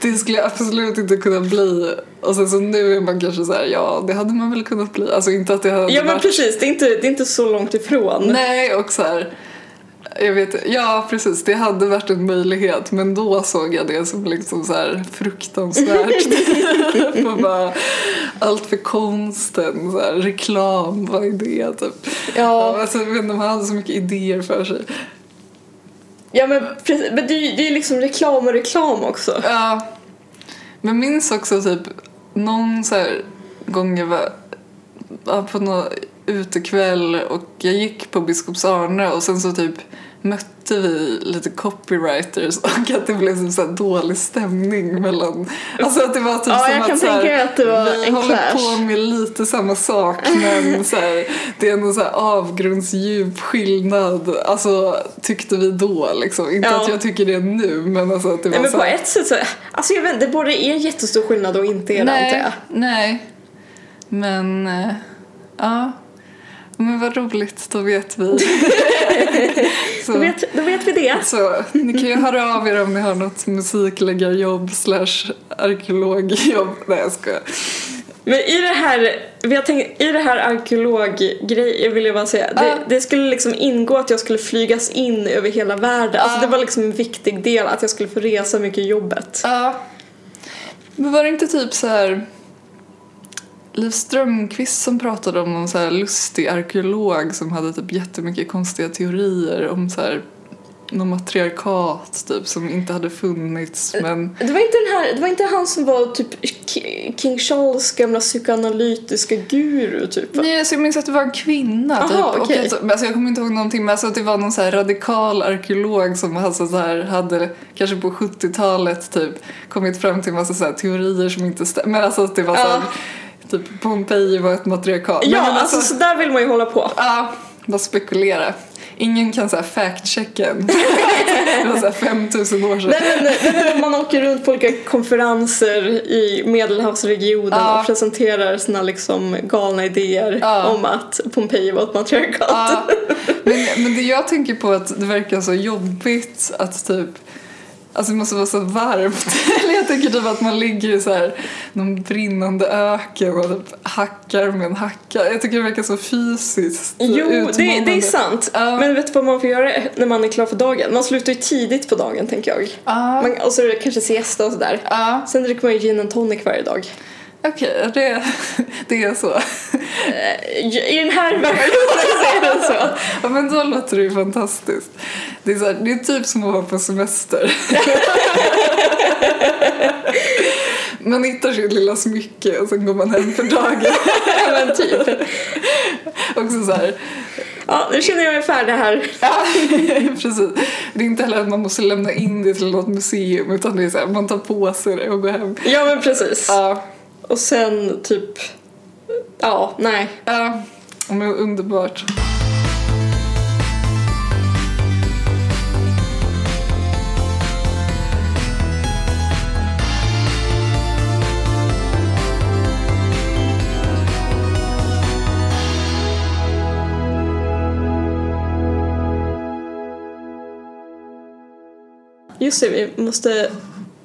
det skulle jag absolut inte kunna bli och sen så nu är man kanske så här ja det hade man väl kunnat bli, alltså inte att det hade
Ja men
varit
precis, det är inte, det är inte så långt ifrån.
Nej, och så här... Jag vet, ja, precis. Det hade varit en möjlighet, men då såg jag det som liksom så här fruktansvärt. För bara, allt för konsten, så här, reklam, vad är det? Typ. Ja,
Ja,
alltså, jag vet inte om han hade så mycket idéer för sig.
ja men precis, men det är ju det är liksom reklam och reklam också.
Ja. Men minns också typ någon så här gång jag var ja, på någon utekväll och jag gick på Biskops Arne och sen så typ mötte vi lite copywriters och att det blev typ så här dålig stämning mellan... Alltså att det var typ
Ja,
som
jag
att
kan
så här,
tänka mig att det var
vi
en
håller
clash.
på med lite samma sak men så här, det är ändå så här avgrundsdjup skillnad. Alltså tyckte vi då liksom. Inte
Ja.
att jag tycker det nu men alltså att det
Nej
var
men
så
på
här,
ett sätt så, alltså jag vet inte, det både är en jättestor skillnad och inte är det antar jag.
nej. Men, eh, ja. Men vad roligt, då vet vi.
Då
så,
vet, då vet vi det.
så ni kan ju höra av er om ni har något musikläggarjobb slash arkeologjobb. Nej jag skojar.
Men i det här, vi har tänkt, i det här arkeologgrejen vill jag bara säga,
Ja.
det, det skulle liksom ingå att jag skulle flygas in över hela världen. Alltså
Ja.
det var liksom en viktig del att jag skulle få resa mycket i jobbet.
Ja. Men var det inte typ så här Liv Strömquist som pratade om någon så här lustig arkeolog som hade typ jättemycket konstiga teorier om så här någon matriarkat typ som inte hade funnits men
Det var, inte den här, det var inte han som var typ Ki- King Charles gamla psykoanalytiska guru typ va?
Nej, alltså jag minns att det var en kvinna. Typ.
Aha, okej.
och att, men alltså jag kommer inte ihåg någonting, men alltså att det var någon så här radikal arkeolog som alltså så här hade, kanske på 70-talet, typ, kommit fram till en massa så här teorier som inte stämmer. Men alltså att det var så här, typ Pompeji var ett matriarkat.
Ja,
men, men
alltså så där vill man ju hålla på.
ja, bara spekulera. Ingen kan så här fact-checka en. det var så här 5000 år sedan.
Nej men, nej, men man åker runt på olika konferenser i medelhavsregionen
Ja.
och presenterar sina liksom galna idéer
Ja.
om att Pompeji var ett matriarkat.
Ja, men, men det jag tänker på är att det verkar så jobbigt att typ Alltså det måste vara så varmt. Eller jag tänker typ att man ligger i så här, någon brinnande öken och typ hackar med en hacka. Jag tycker det verkar så fysiskt
Jo, det, det är
utmanande.
sant.
Ja.
Men vet du vad man får göra när man är klar för dagen? Man slutar ju tidigt på dagen, tänker jag.
Ja,
Man, och så är det kanske siesta och sådär.
ja.
Sen dricker man ju gin and tonic varje dag.
okej. Det, det är så.
Eh, I den här versionen så är det så.
Ja, men då låter det ju fantastiskt. Det är, så här, det är typ som att vara på semester. Man hittar sitt lilla smycke och sen går man hem för dagen.
Ja, men typ.
Också så här.
Ja, nu känner jag mig färdig här.
Ja, precis. Det är inte heller att man måste lämna in det till något museum utan det är så här, man tar på sig det och går hem.
Ja, men precis.
Ja,
Och sen typ... Ja, nej.
ja. Men underbart.
Just det, vi måste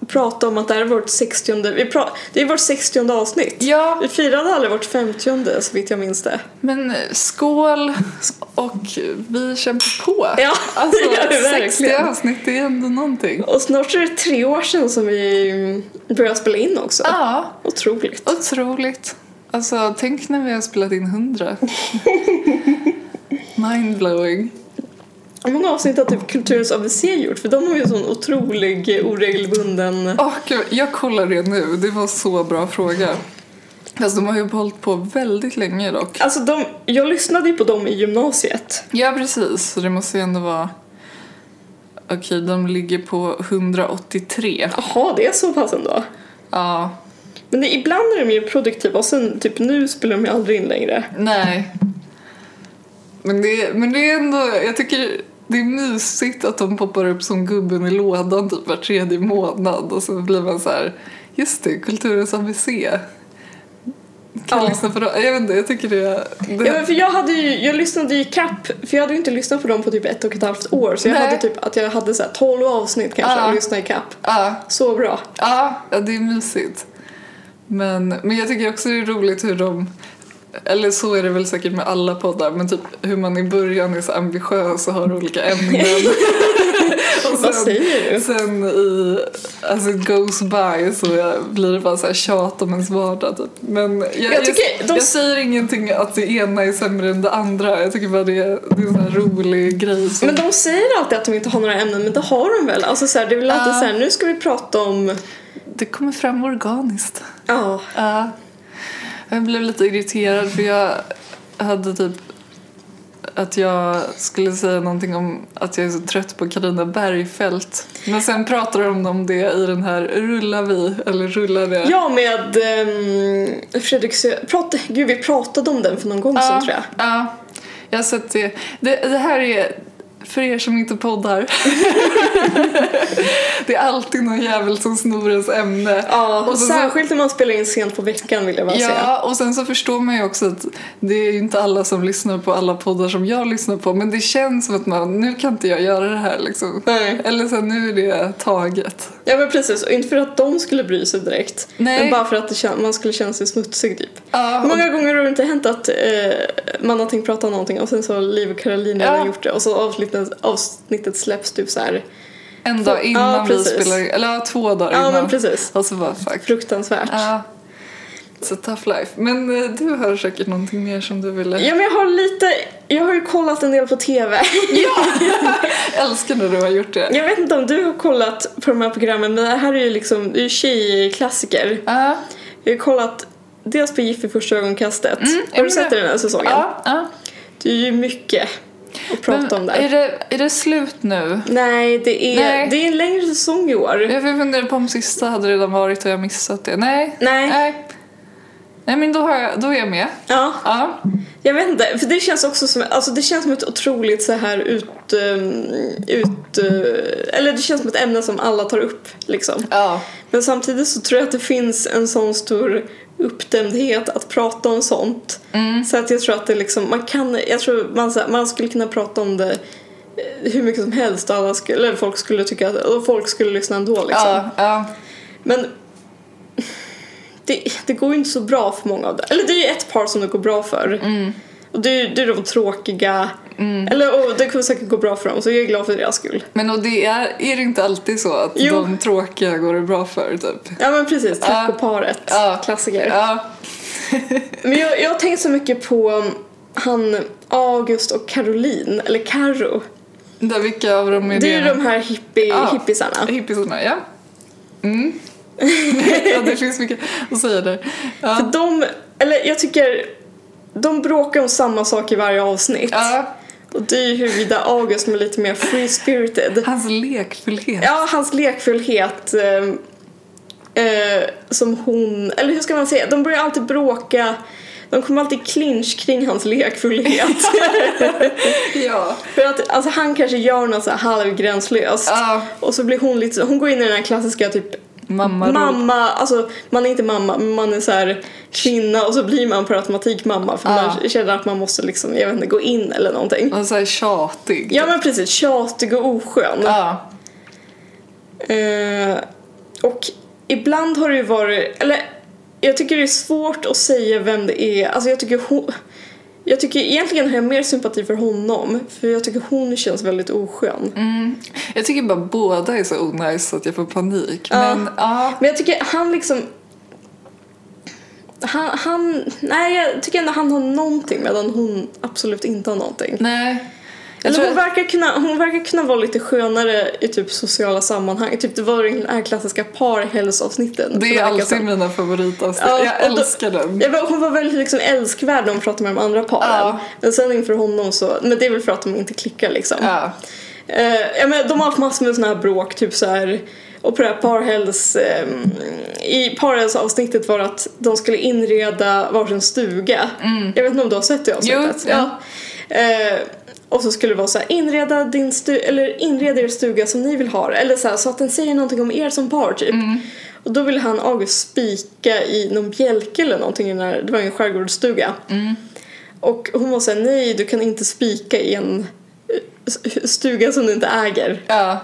prata om att det här är vårt 60 vi pra, Det är vårt 60 avsnitt.
Ja,
Vi firade aldrig vårt 50 så vitt jag minns det.
Men skål och vi kämpar på.
Ja,
alltså,
det gör vi
60
verkligen.
avsnitt det är ändå någonting.
Och snart är det tre år sedan som vi mm, började spela in också.
Ja,
Otroligt.
otroligt. Alltså tänk när vi har spelat in 100. Mindblowing.
Hur många avsnitt har typ Kulturens ABC gjort? För de har ju en sån otrolig eh, oregelbunden...
Åh, gud, jag kollar det nu, det var så bra fråga. Alltså de har ju hållit på väldigt länge dock.
Alltså de, jag lyssnade ju på dem i gymnasiet.
Ja precis, så det måste ju ändå vara... Okej, de ligger på 183.
Jaha, det är så pass ändå.
Ja,
Men det, ibland är de ju produktiva och sen typ nu spelar de ju aldrig in längre.
Nej. Men det, men det är ändå, jag tycker det är mysigt att de poppar upp som gubben i lådan typ var tredje månad och så blir man så här, just det, kulturens ABC. Kan
Ja.
lyssna på dem. Jag vet inte, jag tycker det, det
Ja, men för jag, hade ju, jag lyssnade ju kapp, för jag hade ju inte lyssnat på dem på typ ett och ett halvt år. Så jag
Nej.
hade typ att jag hade så här 12 avsnitt kanske
Ja.
att lyssna i kapp.
ja,
Så bra.
ja, ja, det är mysigt. Men, men jag tycker också det är roligt hur de eller så är det väl säkert med alla poddar men typ hur man i början är så ambitiös och har olika ämnen och sen
Vad säger du?
Sen i, alltså it goes by så blir det bara så här tjat om ens vardag typ. Men jag, jag,
tycker de-
jag säger ingenting att det ena är sämre än det andra. Jag tycker bara det, är- det är en sån här rolig grej. Som,
Men de säger alltid att de inte har några ämnen, men det har de väl? Alltså så här, det är väl alltid
Ja.
så här, nu ska vi prata om...
Det kommer fram organiskt.
Ja.
Ja. Jag blev lite irriterad för jag hade typ att jag skulle säga någonting om att jag är så trött på Carina Bergfeldt. Men sen pratar de om det i den här Rullar vi? Eller Rullar det?
Ja, med ehm, Fredrik Sö... Prata... Gud, vi pratade om den för någon gång sedan tror jag.
Ja, jag har sett det. det. Det här är, för er som inte poddar, det är alltid någon jävel som snor ens ämne.
Ja,
Och
och
så-
särskilt när man spelar in sent på veckan vill jag bara säga.
Ja, och sen så förstår man ju också att det är ju inte alla som lyssnar på alla poddar som jag lyssnar på, men det känns som att man, nu kan inte jag göra det här liksom.
Nej.
Eller så här, nu är det taget.
Ja men precis, och inte för att de skulle bry sig direkt.
Nej.
Men bara för att det, kän- man skulle känna sig smutsig typ.
Ja,
Hur
och,
många gånger har det inte hänt att eh, man har tänkt prata om någonting och sen så har Liv och Caroline
Ja.
redan gjort det och så avsnittet, avsnittet släpps typ så här.
en dag innan vi
precis.
spelar eller ja, två dagar
Ja
innan.
men precis.
Och så bara fuck.
Fruktansvärt.
Ja. Så tough life. Men eh, du har säkert någonting mer som du ville...
Ja men jag har lite, jag har ju kollat en del på TV.
Jag älskar när du har gjort det.
Jag vet inte om du har kollat på de här programmen men det här är ju liksom, det är ju tjejklassiker.
Ja,
Jag har kollat dels på Gift i första ögonkastet.
ja,
har
men
du sett
det-
det den här säsongen?
Mm, ja, ja.
Det är ju mycket att prata om där.
Är det, är det slut nu?
Nej, det är,
Nej.
det är en längre säsong i år.
Jag funderade på om sista hade redan varit och jag missat det. Nej.
Nej.
Nej, Nej, men då, har jag, då är jag med.
Ja,
Ja.
jag vet inte. För det känns också som, alltså det känns som ett otroligt så här ut, ehm, ut eh, eller det känns som ett ämne som alla tar upp liksom.
ja.
Men samtidigt så tror jag att det finns en sån stor uppdämdhet att prata om sånt. Så att jag tror att det liksom, man kan, jag tror man, så här, man skulle kunna prata om det eh, hur mycket som helst och alla skulle, eller folk skulle tycka att, och folk skulle lyssna ändå liksom.
Ja, ja.
Men det, det går ju inte så bra för många av dem. Eller det är ju ett par som det går bra för.
Mm.
Och det är, det är de tråkiga. Eller och det kommer säkert gå bra för dem så jag är glad för deras skull.
Men och det är, är det inte alltid så att
Jo.
de tråkiga går det bra för typ?
Ja men precis,
Ja.
tacoparet.
Ja.
Klassiker.
Ja,
Men jag, jag har tänkt så mycket på um, han August och Caroline, eller Caro.
där vilka av dem är
Det är ju de här hippie,
Ja.
hippisarna.
Hippisarna, ja. Mm. ja, det finns mycket att säga där.
För
Ja,
de, eller jag tycker, de bråkar om samma sak i varje avsnitt.
ja.
Och det är ju huruvida August är lite mer free-spirited.
Hans lekfullhet.
Ja, hans lekfullhet eh, eh, som hon, eller hur ska man säga, de börjar alltid bråka de kommer alltid clinch kring hans lekfullhet.
Ja.
För att alltså, han kanske gör något så här halvgränslöst.
Ja.
Och så blir hon lite så- hon går in i den här klassiska typ
Mamma, mamma.
mamma, alltså man är inte mamma men man är så här kvinna och så blir man per automatik mamma för
Ja.
man känner att man måste liksom, jag vet inte, gå in eller någonting.
och så här tjatig.
Ja men precis, tjatig och oskön.
Ja.
Eh, och ibland har det ju varit, eller jag tycker det är svårt att säga vem det är. Alltså jag tycker hon, jag tycker egentligen har jag mer sympati för honom för jag tycker hon känns väldigt oskön.
Mm. Jag tycker bara båda är så onajs att jag får panik.
Ja.
Men ja,
Men jag tycker han liksom han, han, nej jag tycker ändå han har någonting medan hon absolut inte har någonting.
nej. Jag
Eller
tror
hon,
att-
verkar kunna, hon verkar kunna vara lite skönare i typ sociala sammanhang. Typ det var den här klassiska parhälsavsnitten.
det är alltid mina favoritavsnitt.
Ja,
jag
och då-
älskar den.
Ja, men hon var väldigt liksom älskvärd när hon pratade med de andra paren.
Mm. Ja.
Men sen inför honom så, men det är väl för att de inte klickar liksom.
Ja.
Eh, ja, men de har haft massor med sådana här bråk, typ så här. Och på det här parhälls... Eh, I parhälsavsnittet var det att de skulle inreda varsin stuga. Jag vet inte om du har sett det avsnittet?
Mm. Jo, ja.
Eh, och så skulle det vara så här, inreda din stu- eller inreda er stuga som ni vill ha det. Eller så här, så att den säger någonting om er som par typ.
Mm.
Och då ville han August spika i någon bjälke eller någonting, i den här- det var ju en skärgårdsstuga. Och hon var såhär, nej du kan inte spika i en eh, stuga som du inte äger.
Ja,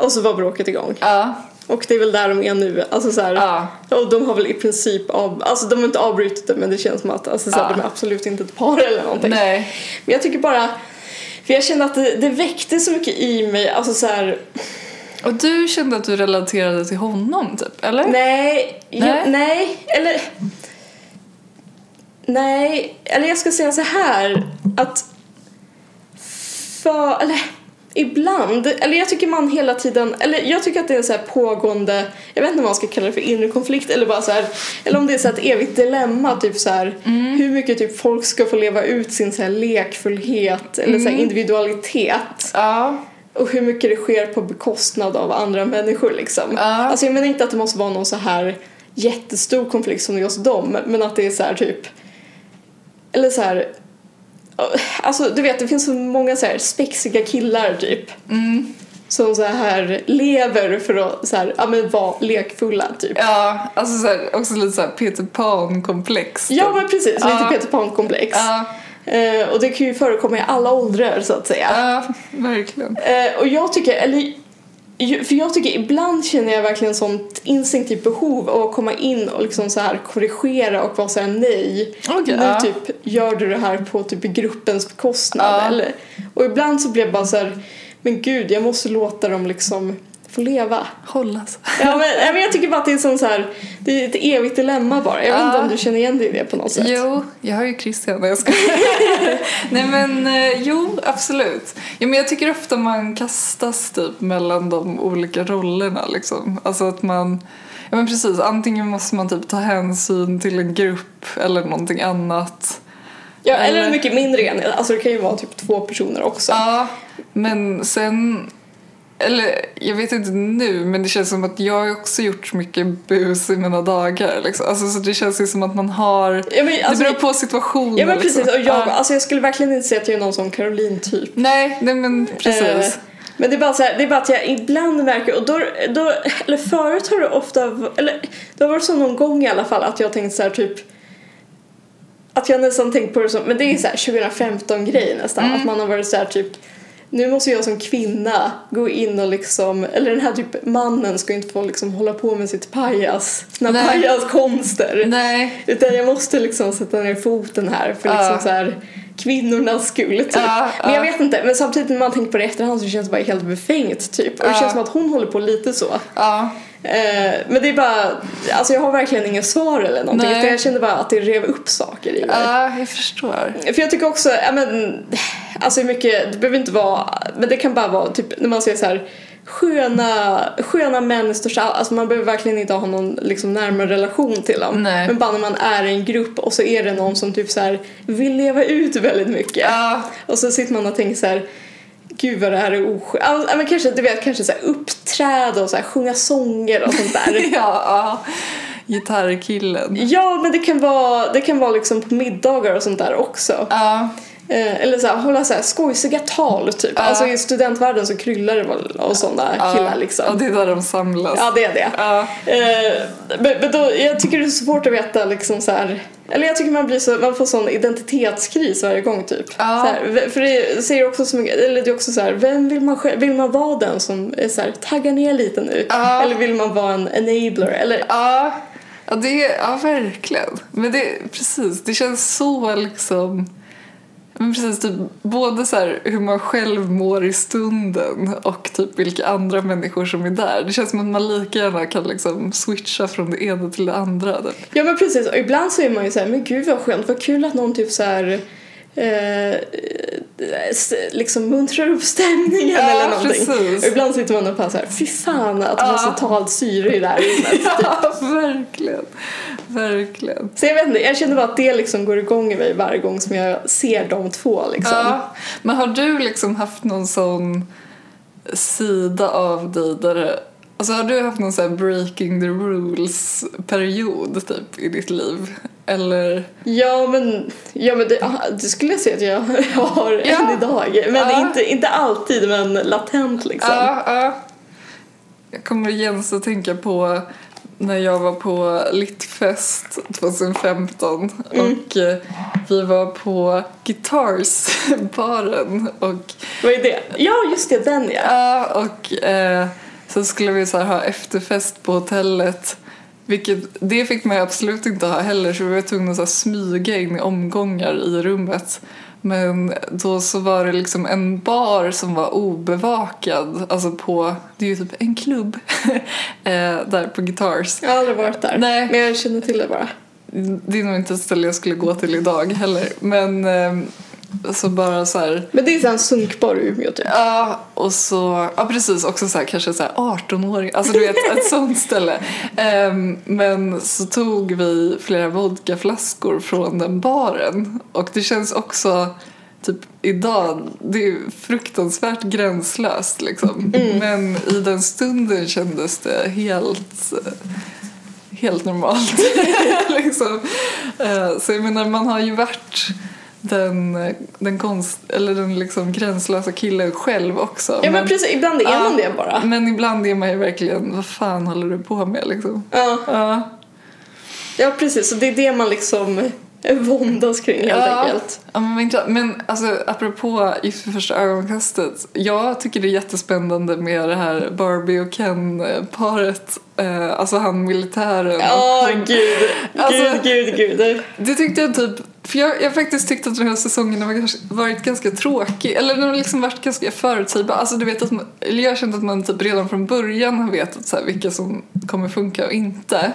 Och så var bråket igång.
ja,
Och det är väl där de är nu. Alltså så här,
Ja.
Och de har väl i princip av, alltså de har inte avbrutit det men det känns som att alltså, så här,
Ja.
de är absolut inte ett par eller någonting.
nej.
Men jag tycker bara, för jag kände att det, det väckte så mycket i mig, alltså så här,
Och du kände att du relaterade till honom typ, eller?
nej,
Nej.
nej, nej eller Nej, eller jag ska säga så här att för, eller ibland, eller jag tycker man hela tiden, eller jag tycker att det är en så här pågående, jag vet inte vad man ska kalla det för inre konflikt eller bara så här, eller om det är så här ett evigt dilemma typ så här hur mycket typ folk ska få leva ut sin så här lekfullhet eller så här individualitet.
Ja,
Och hur mycket det sker på bekostnad av andra människor liksom.
Ja.
Alltså jag menar inte att det måste vara någon så här jättestor konflikt som det är hos dem, men att det är så här typ eller så här alltså du vet det finns så många så här spexiga killar typ.
Mm.
Som så här lever för att så här, ja men vara lekfulla typ.
ja. Alltså så här, också lite såhär Peter Pan-komplex. typ.
Ja men precis, lite
Ja.
Peter Pan-komplex.
Ja,
Eh, och det kan ju förekomma i alla åldrar så att säga.
ja, verkligen.
Eh, och jag tycker, eller ju- för jag tycker ibland känner jag verkligen sånt instinktivt behov av att komma in och liksom så här korrigera och vara så här nej.
Okej,
nu
ja.
typ gör du det här på typ gruppens bekostnad.
Ja.
Eller, och ibland så blir jag bara så här, men gud jag måste låta dem liksom få leva.
Hållas.
Ja, men, ja, men jag tycker bara att det är sån så här, det är ett evigt dilemma bara. Jag vet
Ja.
inte om du känner igen dig i det på något sätt.
Jo, jag har ju Christian. Nej, Jag ska. Nej men eh, jo, absolut. Ja, men jag tycker ofta man kastas typ mellan de olika rollerna liksom. Alltså att man, ja men precis, antingen måste man typ ta hänsyn till en grupp eller någonting annat.
Ja, eller
Eller-
en mycket mindre enhet, alltså det kan ju vara typ två personer också.
Ja, men sen... Eller jag vet inte nu, men det känns som att jag har också gjort mycket bus i mina dagar. Liksom. Alltså, så det känns ju som att man har...
Ja, men,
det
alltså,
beror på situationen.
Ja men precis,
Liksom.
och jag,
Ja.
alltså jag skulle verkligen inte säga att jag är någon som Caroline typ.
Nej, nej, men
Eh,
precis.
Men det är, bara så här, det är bara att jag ibland märker, och då, då, eller förut har det ofta, eller det har varit så någon gång i alla fall att jag har tänkt så här typ
Mm.
att jag nästan tänkt på det som, men det är så här 2015 grej nästan, att man har varit så här typ nu måste jag som kvinna gå in och liksom, eller den här typ mannen ska inte få liksom hålla på med sitt pajas, sina
Nej.
pajaskonster.
Nej.
Utan jag måste liksom sätta ner foten här för liksom
Ja.
så här kvinnornas skull typ.
Ja,
men jag
ja.
vet inte, men samtidigt när man tänker på det i efterhand så känns det bara helt befängt typ. Och det
Ja.
känns som att hon håller på lite så.
Ja.
Eh, men det är bara, alltså jag har verkligen inget svar eller någonting.
Nej.
Utan jag kände bara att det rev upp saker i mig.
ja, jag förstår.
För jag tycker också, ja men, alltså hur mycket, det behöver inte vara, men det kan bara vara typ när man ser så här sköna, sköna män i största all- alltså man behöver verkligen inte ha någon liksom närmare relation till dem.
Nej.
Men bara när man är i en grupp och så är det någon som typ så här vill leva ut väldigt mycket.
Ja.
Och så sitter man och tänker så här Gud vad det här är oskönt. Alltså, ja, men kanske, du vet, kanske så här uppträda och så här sjunga sånger och sånt där.
Ja, ja. Gitarrkillen.
ja men det kan vara, det kan vara liksom på middagar och sånt där också.
Ja.
Eh, eller så här, hålla så här skojsiga tal typ.
Ja.
Alltså i studentvärlden så kryllar det väl av sådana killar
Ja,
liksom.
det är där de samlas.
Ja det är det.
Ja.
Eh, men, men då, jag tycker det är så svårt att veta liksom så här. Eller jag tycker man blir så, man får sån identitetskris varje gång typ.
Ja.
Så här, v- för det säger också så mycket, eller det är också så här, vem vill man själv, vill man vara den som är så här, tagga ner lite nu?
Ja.
Eller vill man vara en enabler? Eller,
Ja, ja, det, ja verkligen. Men det, precis, det känns så liksom... Men precis, typ, både så här, hur man själv mår i stunden och typ vilka andra människor som är där. Det känns som att man lika gärna kan liksom switcha från det ena till det andra. Typ.
Ja men precis, och ibland så är man ju såhär, men gud vad skönt, vad kul att någon typ såhär eh, s- liksom muntrar upp stämningen
Ja,
eller någonting.
precis.
Och ibland sitter man och bara såhär, fy fan att det var så
Ja.
totalt syre i det här rummet.
Ja, verkligen. Verkligen.
Så jag vet inte, jag känner bara att det liksom går igång i mig varje gång som jag ser de två liksom.
Ja. Men har du liksom haft någon sån sida av dig där det- Alltså har du haft någon sån här breaking the rules period typ i ditt liv? Eller?
Ja men, ja, men det, ah, det skulle jag säga att jag har
Ja.
än idag. Men
Ja.
inte, inte alltid, men latent liksom.
Ja, ja. Jag kommer igen att tänka på när jag var på Littfest 2015 och eh, vi var på Guitars-baren och
Vad är det? Ja just det, den ja.
Ja, och eh, så skulle vi så här ha efterfest på hotellet. Vilket, det fick man ju absolut inte ha heller så vi var tvungna att så här smyga in i omgångar i rummet. Men då så var det liksom en bar som var obevakad, alltså på, det är ju typ en klubb, eh, där på Guitars.
Jag har aldrig varit där.
Nej.
Men jag känner till det bara.
Det är nog inte ett ställe jag skulle gå till idag heller, men eh, så bara så här
Men det är så en sunkbar i Umeå typ.
Ja, och så, ja precis, också så här, kanske så här 18-åring, alltså du vet ett sånt ställe. Ehm, men så tog vi flera vodkaflaskor från den baren och det känns också typ idag, det är ju fruktansvärt gränslöst liksom. Men i den stunden kändes det helt eh, helt normalt. liksom. Eh, Så jag menar, man har ju varit den, eh, den, konst, eller den liksom gränslösa killen själv också.
Ja men precis, ibland är
Ja,
man det bara.
Men ibland är man ju verkligen, vad fan håller du på med liksom?
Ja,
Ja,
ja precis, så det är det man liksom våndas kring helt enkelt.
Ja, men, inte- men alltså, apropå Gift vid första ögonkastet. Jag tycker det är jättespännande med det här Barbie och Ken-paret. Eh, Alltså han militären och
Ja,
hon-
gud,
Alltså-
gud, gud, gud.
Det tyckte jag typ, för jag jag har faktiskt tyckt att den här säsongen har kanske varit ganska tråkig. Eller den har liksom varit ganska förutsägbar. Alltså du vet att man, eller jag har känt att man typ redan från början har vetat så här vilka som kommer funka och inte.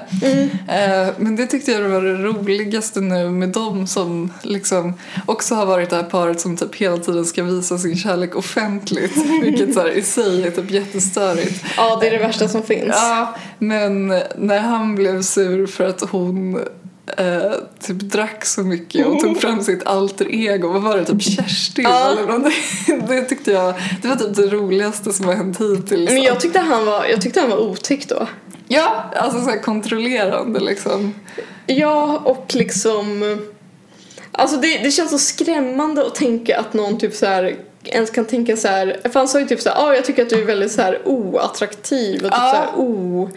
Eh, men det tyckte jag var det roligaste nu med dem som liksom också har varit det här paret som typ hela tiden ska visa sin kärlek offentligt. Vilket så här i sig är typ jättestörigt.
Ja, det är det värsta som finns.
Ja, men när han blev sur för att hon eh, typ drack så mycket och tog fram sitt alter ego, vad var det, typ Kerstin
Oh. Ja.
eller någonting. Det tyckte jag, det var typ det roligaste som har hänt hittills.
Men jag tyckte han var, jag tyckte han var otäck då.
Ja, alltså såhär kontrollerande liksom.
Ja, och liksom... Alltså det, det känns så skrämmande att tänka att någon typ så här ens kan tänka så här, för han sa ju typ så här, "Ah, jag tycker att du är väldigt så här oattraktiv och typ
Ja.
så här o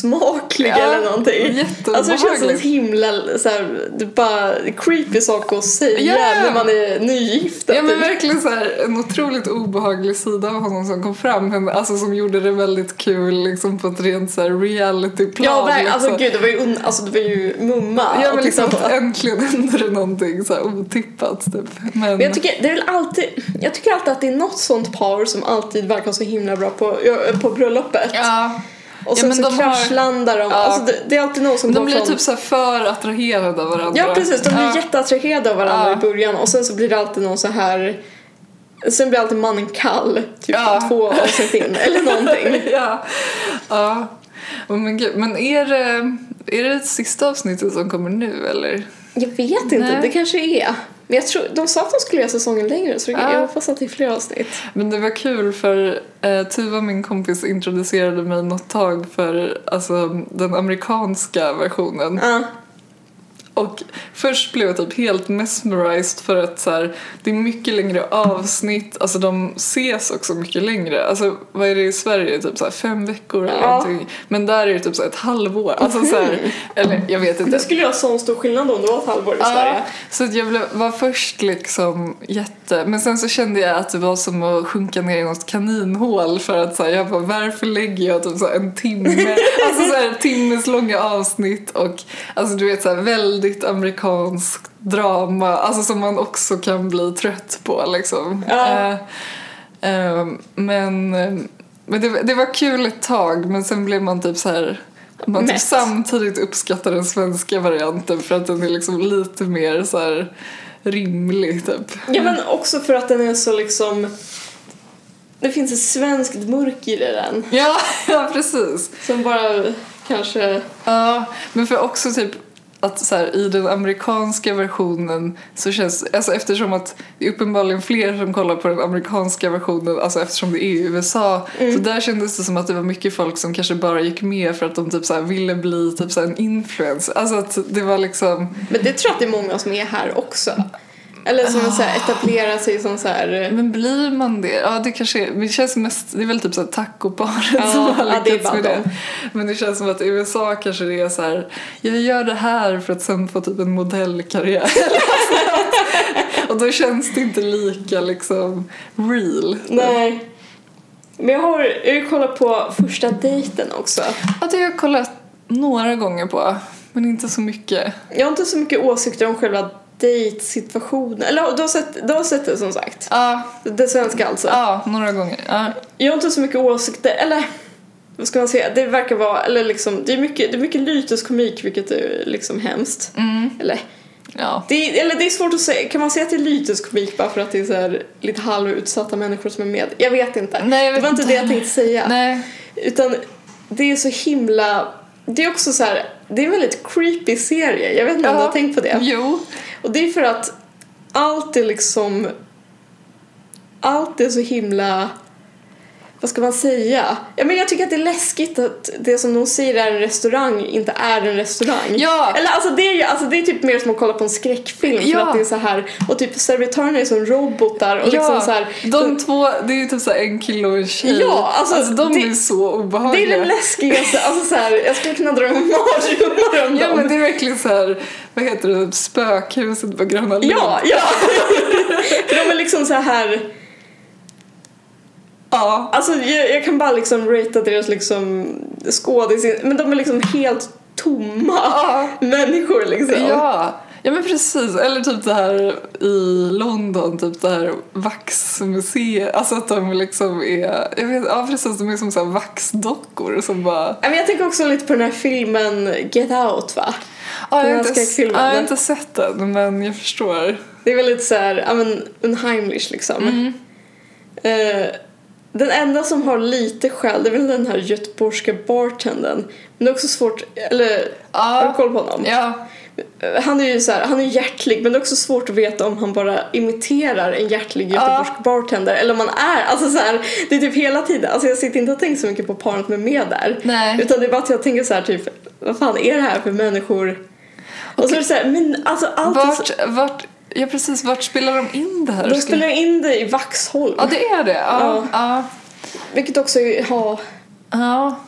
osmaklig
Ja,
eller någonting.
jätteobehagligt.
Alltså det känns som ett himla så här, det är bara creepy sak att säga
Ja.
när man är nygift.
Ja men
typ.
verkligen så här, en otroligt obehaglig sida av honom som kom fram. Men, alltså som gjorde det väldigt kul liksom, på ett rent så här, realityplan.
Ja, verkligen.
liksom.
Alltså gud, det var ju, un- alltså, det var ju mumma
ja
att
men
titta
liksom
på.
äntligen hände det någonting så här, otippat typ. Men,
Men jag tycker, det är väl alltid, jag tycker alltid att det är något sånt par som alltid verkar så himla bra på, ö, på bröllopet.
ja,
Och
Ja,
sen
men
så
de har-
kraschlandar de.
Ja.
Alltså, det, det är alltid någon som
de
går
blir
från...
typ så här, för attraherade av varandra.
Ja precis, de blir
Ja.
jätteattraherade av varandra
Ja.
i början och sen så blir det alltid någon så här Sen blir alltid mannen kall, typ
Ja.
två avsnitt in eller någonting.
ja. ja. Oh, men, gud. men är det, är det sista avsnittet som kommer nu eller?
Jag vet inte,
Nej.
det kanske är. Men jag tror, de sa att de skulle göra säsongen längre så
Ja.
jag hoppas att det är fler avsnitt.
Men det var kul för eh, Tuva, min kompis, introducerade mig något tag för alltså, den amerikanska versionen.
Ja.
Och först blev jag typ helt mesmerized för att så här, det är mycket längre avsnitt, alltså de ses också mycket längre. Alltså vad är det i Sverige, typ så här, fem veckor eller
Ja.
någonting. Men där är det typ så här, ett halvår. Alltså, så här, eller jag vet inte.
Det skulle göra sån stor skillnad om det var ett halvår i Sverige.
Ja, så att jag blev, var först liksom jätte... Men sen så kände jag att det var som att sjunka ner i något kaninhål för att så här, jag bara varför lägger jag typ så här, en timme, alltså så här, timmes långa avsnitt och alltså du vet så här, väldigt amerikanskt drama, alltså som man också kan bli trött på liksom.
Ja.
Eh, eh, men eh, men det, det var kul ett tag men sen blev man typ så här man typ
Mätt.
samtidigt uppskattar den svenska varianten för att den är liksom lite mer så här rimlig typ.
Ja men också för att den är så liksom Det finns ett svenskt mörker i den
Ja, ja precis.
som bara kanske
Ja, men för också typ att så här, i den amerikanska versionen så känns alltså eftersom att det är uppenbarligen fler som kollar på den amerikanska versionen, alltså eftersom det är i USA, så där kändes det som att det var mycket folk som kanske bara gick med för att de typ så här ville bli typ så här en influencer. Alltså att det var liksom,
Men det tror jag att det är många som är här också. Eller som oh. så här etablerar sig som så här... eh,
Men blir man det? Ja, det kanske är, det känns mest, det är väl typ såhär tacoparet
Ja,
som har
ja, det är
lyckats
bara
med det. Men det känns som att i USA kanske det är så här: jag gör det här för att sen få typ en modellkarriär. Och då känns det inte lika liksom real.
Nej. Men jag har jag har ju kollat på första dejten också.
Ja, det har jag kollat några gånger på, men inte så mycket.
Jag har inte så mycket åsikter om själva dejtsituationen. Eller du har, sett, du har sett det som sagt.
Ja,
Det svenska alltså.
ja några gånger. Ja.
Jag har inte så mycket åsikter, eller vad ska man säga? Det verkar vara, eller liksom, det är mycket, det är mycket lyteskomik vilket är liksom hemskt.
Mm.
Eller,
Ja.
det är, eller det är svårt att säga, kan man säga att det är lyteskomik bara för att det är så här lite halvutsatta människor som är med? Jag vet inte.
Nej, jag
det
vet
var inte
inte
det jag tänkte säga.
Nej.
Utan det är så himla... Det är också så här, det är en väldigt creepy serie. Jag vet inte om du har tänkt på det.
Jo.
Och det är för att allt är liksom... Allt är så himla... Vad ska man säga? Ja, men jag tycker att det är läskigt att det som de säger är en restaurang inte är en restaurang.
Ja.
Eller alltså det är ju alltså det är typ mer som att kolla på en skräckfilm
Ja.
för att det är så här och typ servitörerna är som robotar och
Ja,
liksom så här
de två, det är ju typ så här en kille och en tjej.
Ja, alltså,
de
det-
är så
Det
obehagliga.
är det läskigaste, alltså så här, jag skulle kunna drömma mardrömmar om
Ja
dem.
men det är verkligen så här, vad heter det, typ spökhuset på Gröna Lund.
ja, ja. För de är liksom så här,
ja.
alltså jag, jag kan bara liksom ratea deras liksom skådis, men de är liksom helt tomma
Ja.
människor liksom.
Ja. Ja men precis, eller typ det här i London, typ det här vaxmuseet, alltså att de liksom är, jag vet, ja precis, de är som så här vaxdockor som bara
Ja, Men jag tänker också lite på den här filmen Get Out va?
ja,
Den
jag, har inte,
skräckfilmen,
ja, jag har
eller?
inte sett den men jag förstår.
Det är väl lite så här, ja men Unheimlich liksom.
Mm.
Eh, den enda som har lite skäl, det är väl den här göteborgska bartendern. Men det är också svårt, eller har du
Ja,
koll på honom?
ja,
Han är ju så här, han är hjärtlig men det är också svårt att veta om han bara imiterar en hjärtlig göteborgsk bartender eller om han är, alltså så här, det är typ hela tiden, alltså jag sitter inte och tänker så mycket på paret med med där.
Nej.
Utan det är bara att jag tänker så här typ, vad fan är det här för människor? Och så är det så här, men alltså allt är så,
vart, vart, ja precis, vart spelar de in det här?
de
Skulle-
spelar in det i Vaxholm.
Ja, det är det. Ja.
Ja.
ja.
Vilket också är, ja,
ja.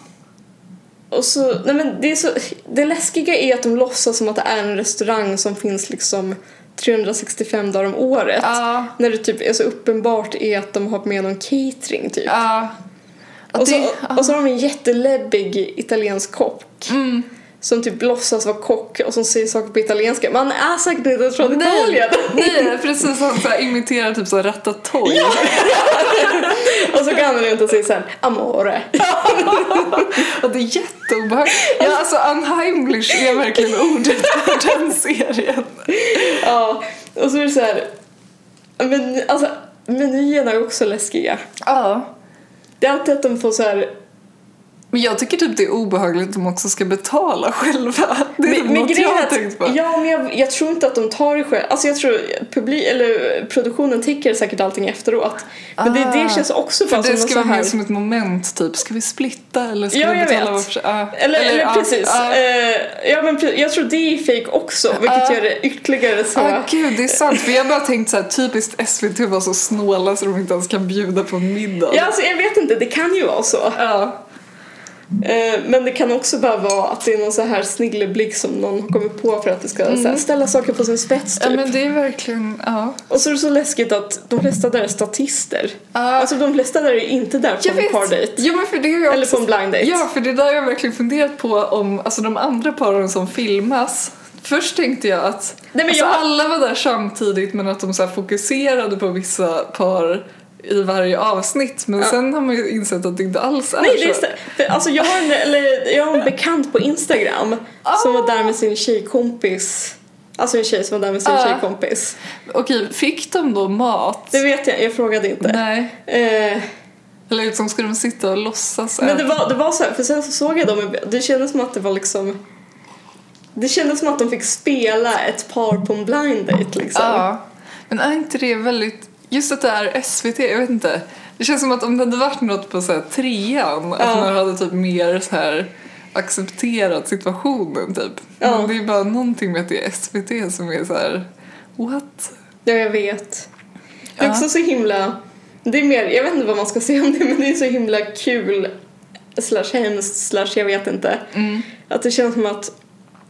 Och så, nej men det, är så, det läskiga är att de låtsas som att det är en restaurang som finns liksom 365 dagar om året.
Ja.
När det typ är så uppenbart är att de har med någon catering typ.
Ja. Att
Och så,
det-
och så har de en jätteläbbig italiensk kock.
Mm.
Som typ låtsas vara kock och som säger saker på italienska. Man är säkert inte från Italien!
Nej, precis. Han så här imiterar typ så här ratatouille.
och så går han runt och säger såhär amore.
Och det är jätteobehagligt. Ja, alltså unheimlich är verkligen ordet för den serien.
ja. Och så är det såhär. Men alltså menyerna är också läskiga.
Ja.
Det är alltid att de får så här.
Men jag tycker typ det är obehagligt att de också ska betala själva. Det är typ
men
något
grejen
jag
är
har
att-
tänkt på.
Ja, men jag, jag tror inte att de tar det själv. Alltså jag tror publi, eller produktionen täcker säkert allting efteråt. Men det,
Ah.
det känns också bara som
det
något
ska liksom-
så
vara
här.
mer som ett moment, typ. Ska vi splitta eller ska
Ja,
vi
jag
betala
vet.
var för sig? Ja.
Eller, eller,
ja,
precis.
Ja,
Eh, ja, men pre- jag tror det är fake också, vilket
Ja.
gör det ytterligare så.
Ah, gud, det är sant. För jag har bara tänkt så här, typiskt SVT var så snåla så de inte ens kan bjuda på en middag.
Ja, alltså, jag vet inte, det kan ju vara så.
Ja.
Eh, men det kan också bara vara att det är någon så här snigleblick som någon har kommit på för att det ska så här, ställa saker på sin spets typ.
Mm. Ja men det är verkligen, ja.
Och så är det så läskigt att de flesta där är statister.
Ja.
Alltså de flesta där är inte där på
Jag
en
vet.
pardate.
Ja men för det är ju
Eller på en blind date.
Ja, för det där har jag verkligen funderat på om alltså, de andra paren som filmas. Först tänkte jag att
men
alltså,
jag-
alla var där samtidigt men att de så här, fokuserade på vissa par i varje avsnitt. Men sen har man ju insett att det inte alls är
Nej, det är
så.
stä- för, alltså, jag, har en, eller, jag har en bekant på Instagram som var där med sin tjejkompis. Alltså en tjej som var där med sin
Ja.
tjejkompis.
Okej, fick de då mat?
Det vet jag, jag frågade inte.
Nej.
Eh,
Eller liksom skulle de sitta och låtsas
men
äta?
det var, det var så här, för sen så såg jag dem, det kändes som att det var liksom det kändes som att de fick spela ett par på en blind date liksom.
Ja. Men är inte det väldigt... Just att det är SVT, jag vet inte. Det känns som att om det hade varit något på så här trean,
Ja.
att man hade typ mer så här accepterat situationen typ.
Ja.
Men det är bara någonting med att det är SVT som är så här... What?
Ja, jag vet. Det är
Ja.
också så himla... Det är mer, jag vet inte vad man ska säga om det, men det är så himla kul slash hemskt slash jag vet inte. Att det känns som att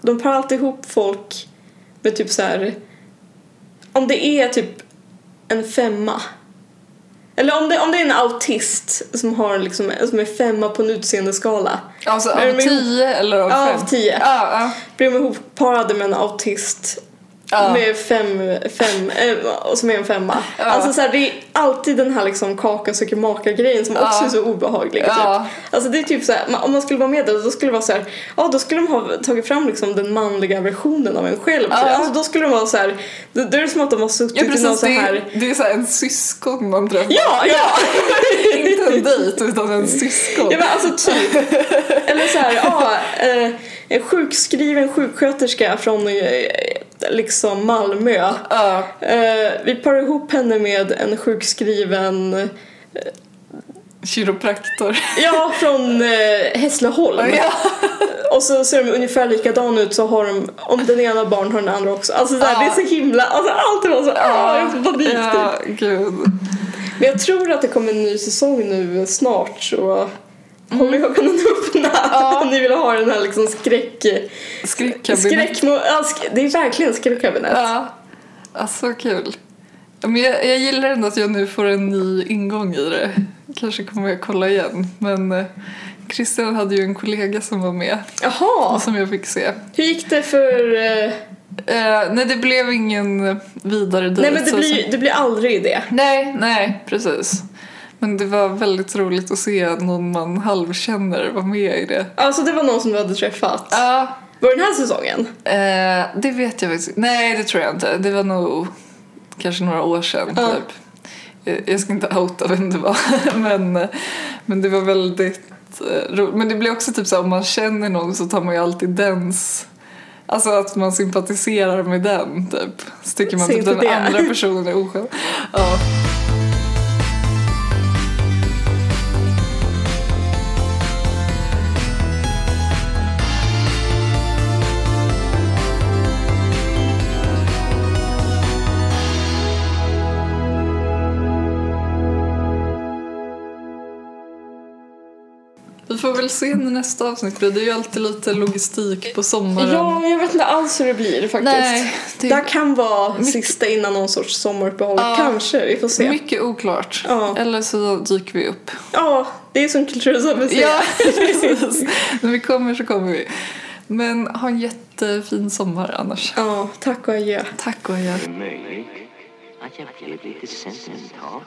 de parar alltid ihop folk med typ så här... Om det är typ en femma. Eller om det, om det är en autist som, har liksom, som är femma på en utseendeskala.
Alltså
Är det
av
min-
tio eller av
Ja,
fem?
av tio.
Ja, ja.
Blir de ihopparade med en autist
Ja.
med fem, fem eh, som är en femma.
Ja.
Alltså så här, det är alltid den här liksom kaka söker maka grejen som också
Ja.
är så obehaglig.
Ja.
Typ. Alltså det är typ så här, ma- om man skulle vara med där då skulle det vara så här, ja då skulle de ha tagit fram liksom den manliga versionen av en själv.
Ja.
Alltså då skulle de vara så här, då, då är det som att de har suttit
Ja
Typ i någon
precis,
så
det
här
är, det är så här en syskon man träffar.
Ja, ja!
Inte en dejt utan en syskon.
ja men alltså typ. Eller så här, ja, eh, en sjukskriven sjuksköterska från eh, liksom Malmö.
Ja.
Eh, vi parar ihop henne med en sjukskriven,
Kiropraktor.
ja från eh, Hässleholm.
Ja.
Och så ser de ungefär likadana ut så har de, om den ena barn har den andra också. Alltså såhär,
Ja.
det är så himla, alltså allt var så, ah, jag får panik typ.
ja, gud.
Men jag tror att det kommer en ny säsong nu snart så
Mm.
håll ögonen öppna om ni vill ha den här liksom skräck...
Skräckkabinett.
skräck ja, sk- det är verkligen skräckkabinett.
Ja. Alltså kul. Men jag, jag gillar ändå att jag nu får en ny ingång i det. Kanske kommer jag kolla igen. Men eh, Christian hade ju en kollega som var med
Jaha,
som jag fick se.
hur gick det för... eh,
Eh, nej, det blev ingen vidare dejt.
nej men det
så-
blir, det blir aldrig det.
Nej, nej, precis. Men det var väldigt roligt att se någon man halvkänner vara med i det.
Alltså det var någon som du hade träffat.
Ja,
Var det den här säsongen?
Eh, det vet jag faktiskt Nej, det tror jag inte. Det var nog kanske några år sedan.
Ja.
Typ. Eh, Jag ska inte outa vem det var. men, eh, men det var väldigt eh, roligt. Men det blir också typ så här, om man känner någon så tar man ju alltid dens... Alltså att man sympatiserar med den typ. Så tycker man
Säg
typ
inte
den
det.
andra personen är oskön. Ja. Vi får väl se när nästa avsnitt blir. Det är ju alltid lite logistik på sommaren.
Ja, jag vet inte alls hur det blir faktiskt.
Nej, det
Det
är
här kan vara sista innan någon sorts sommaruppehåll.
Ja.
Kanske, vi får se.
mycket oklart.
Ja.
Eller så dyker vi upp.
Ja, det är som kulturen vill säga.
Ja, precis. När vi kommer så kommer vi. Men ha en jättefin sommar annars.
ja, tack och adjö.
Tack och adjö.
Möjligt att jag ville bli till senscentator.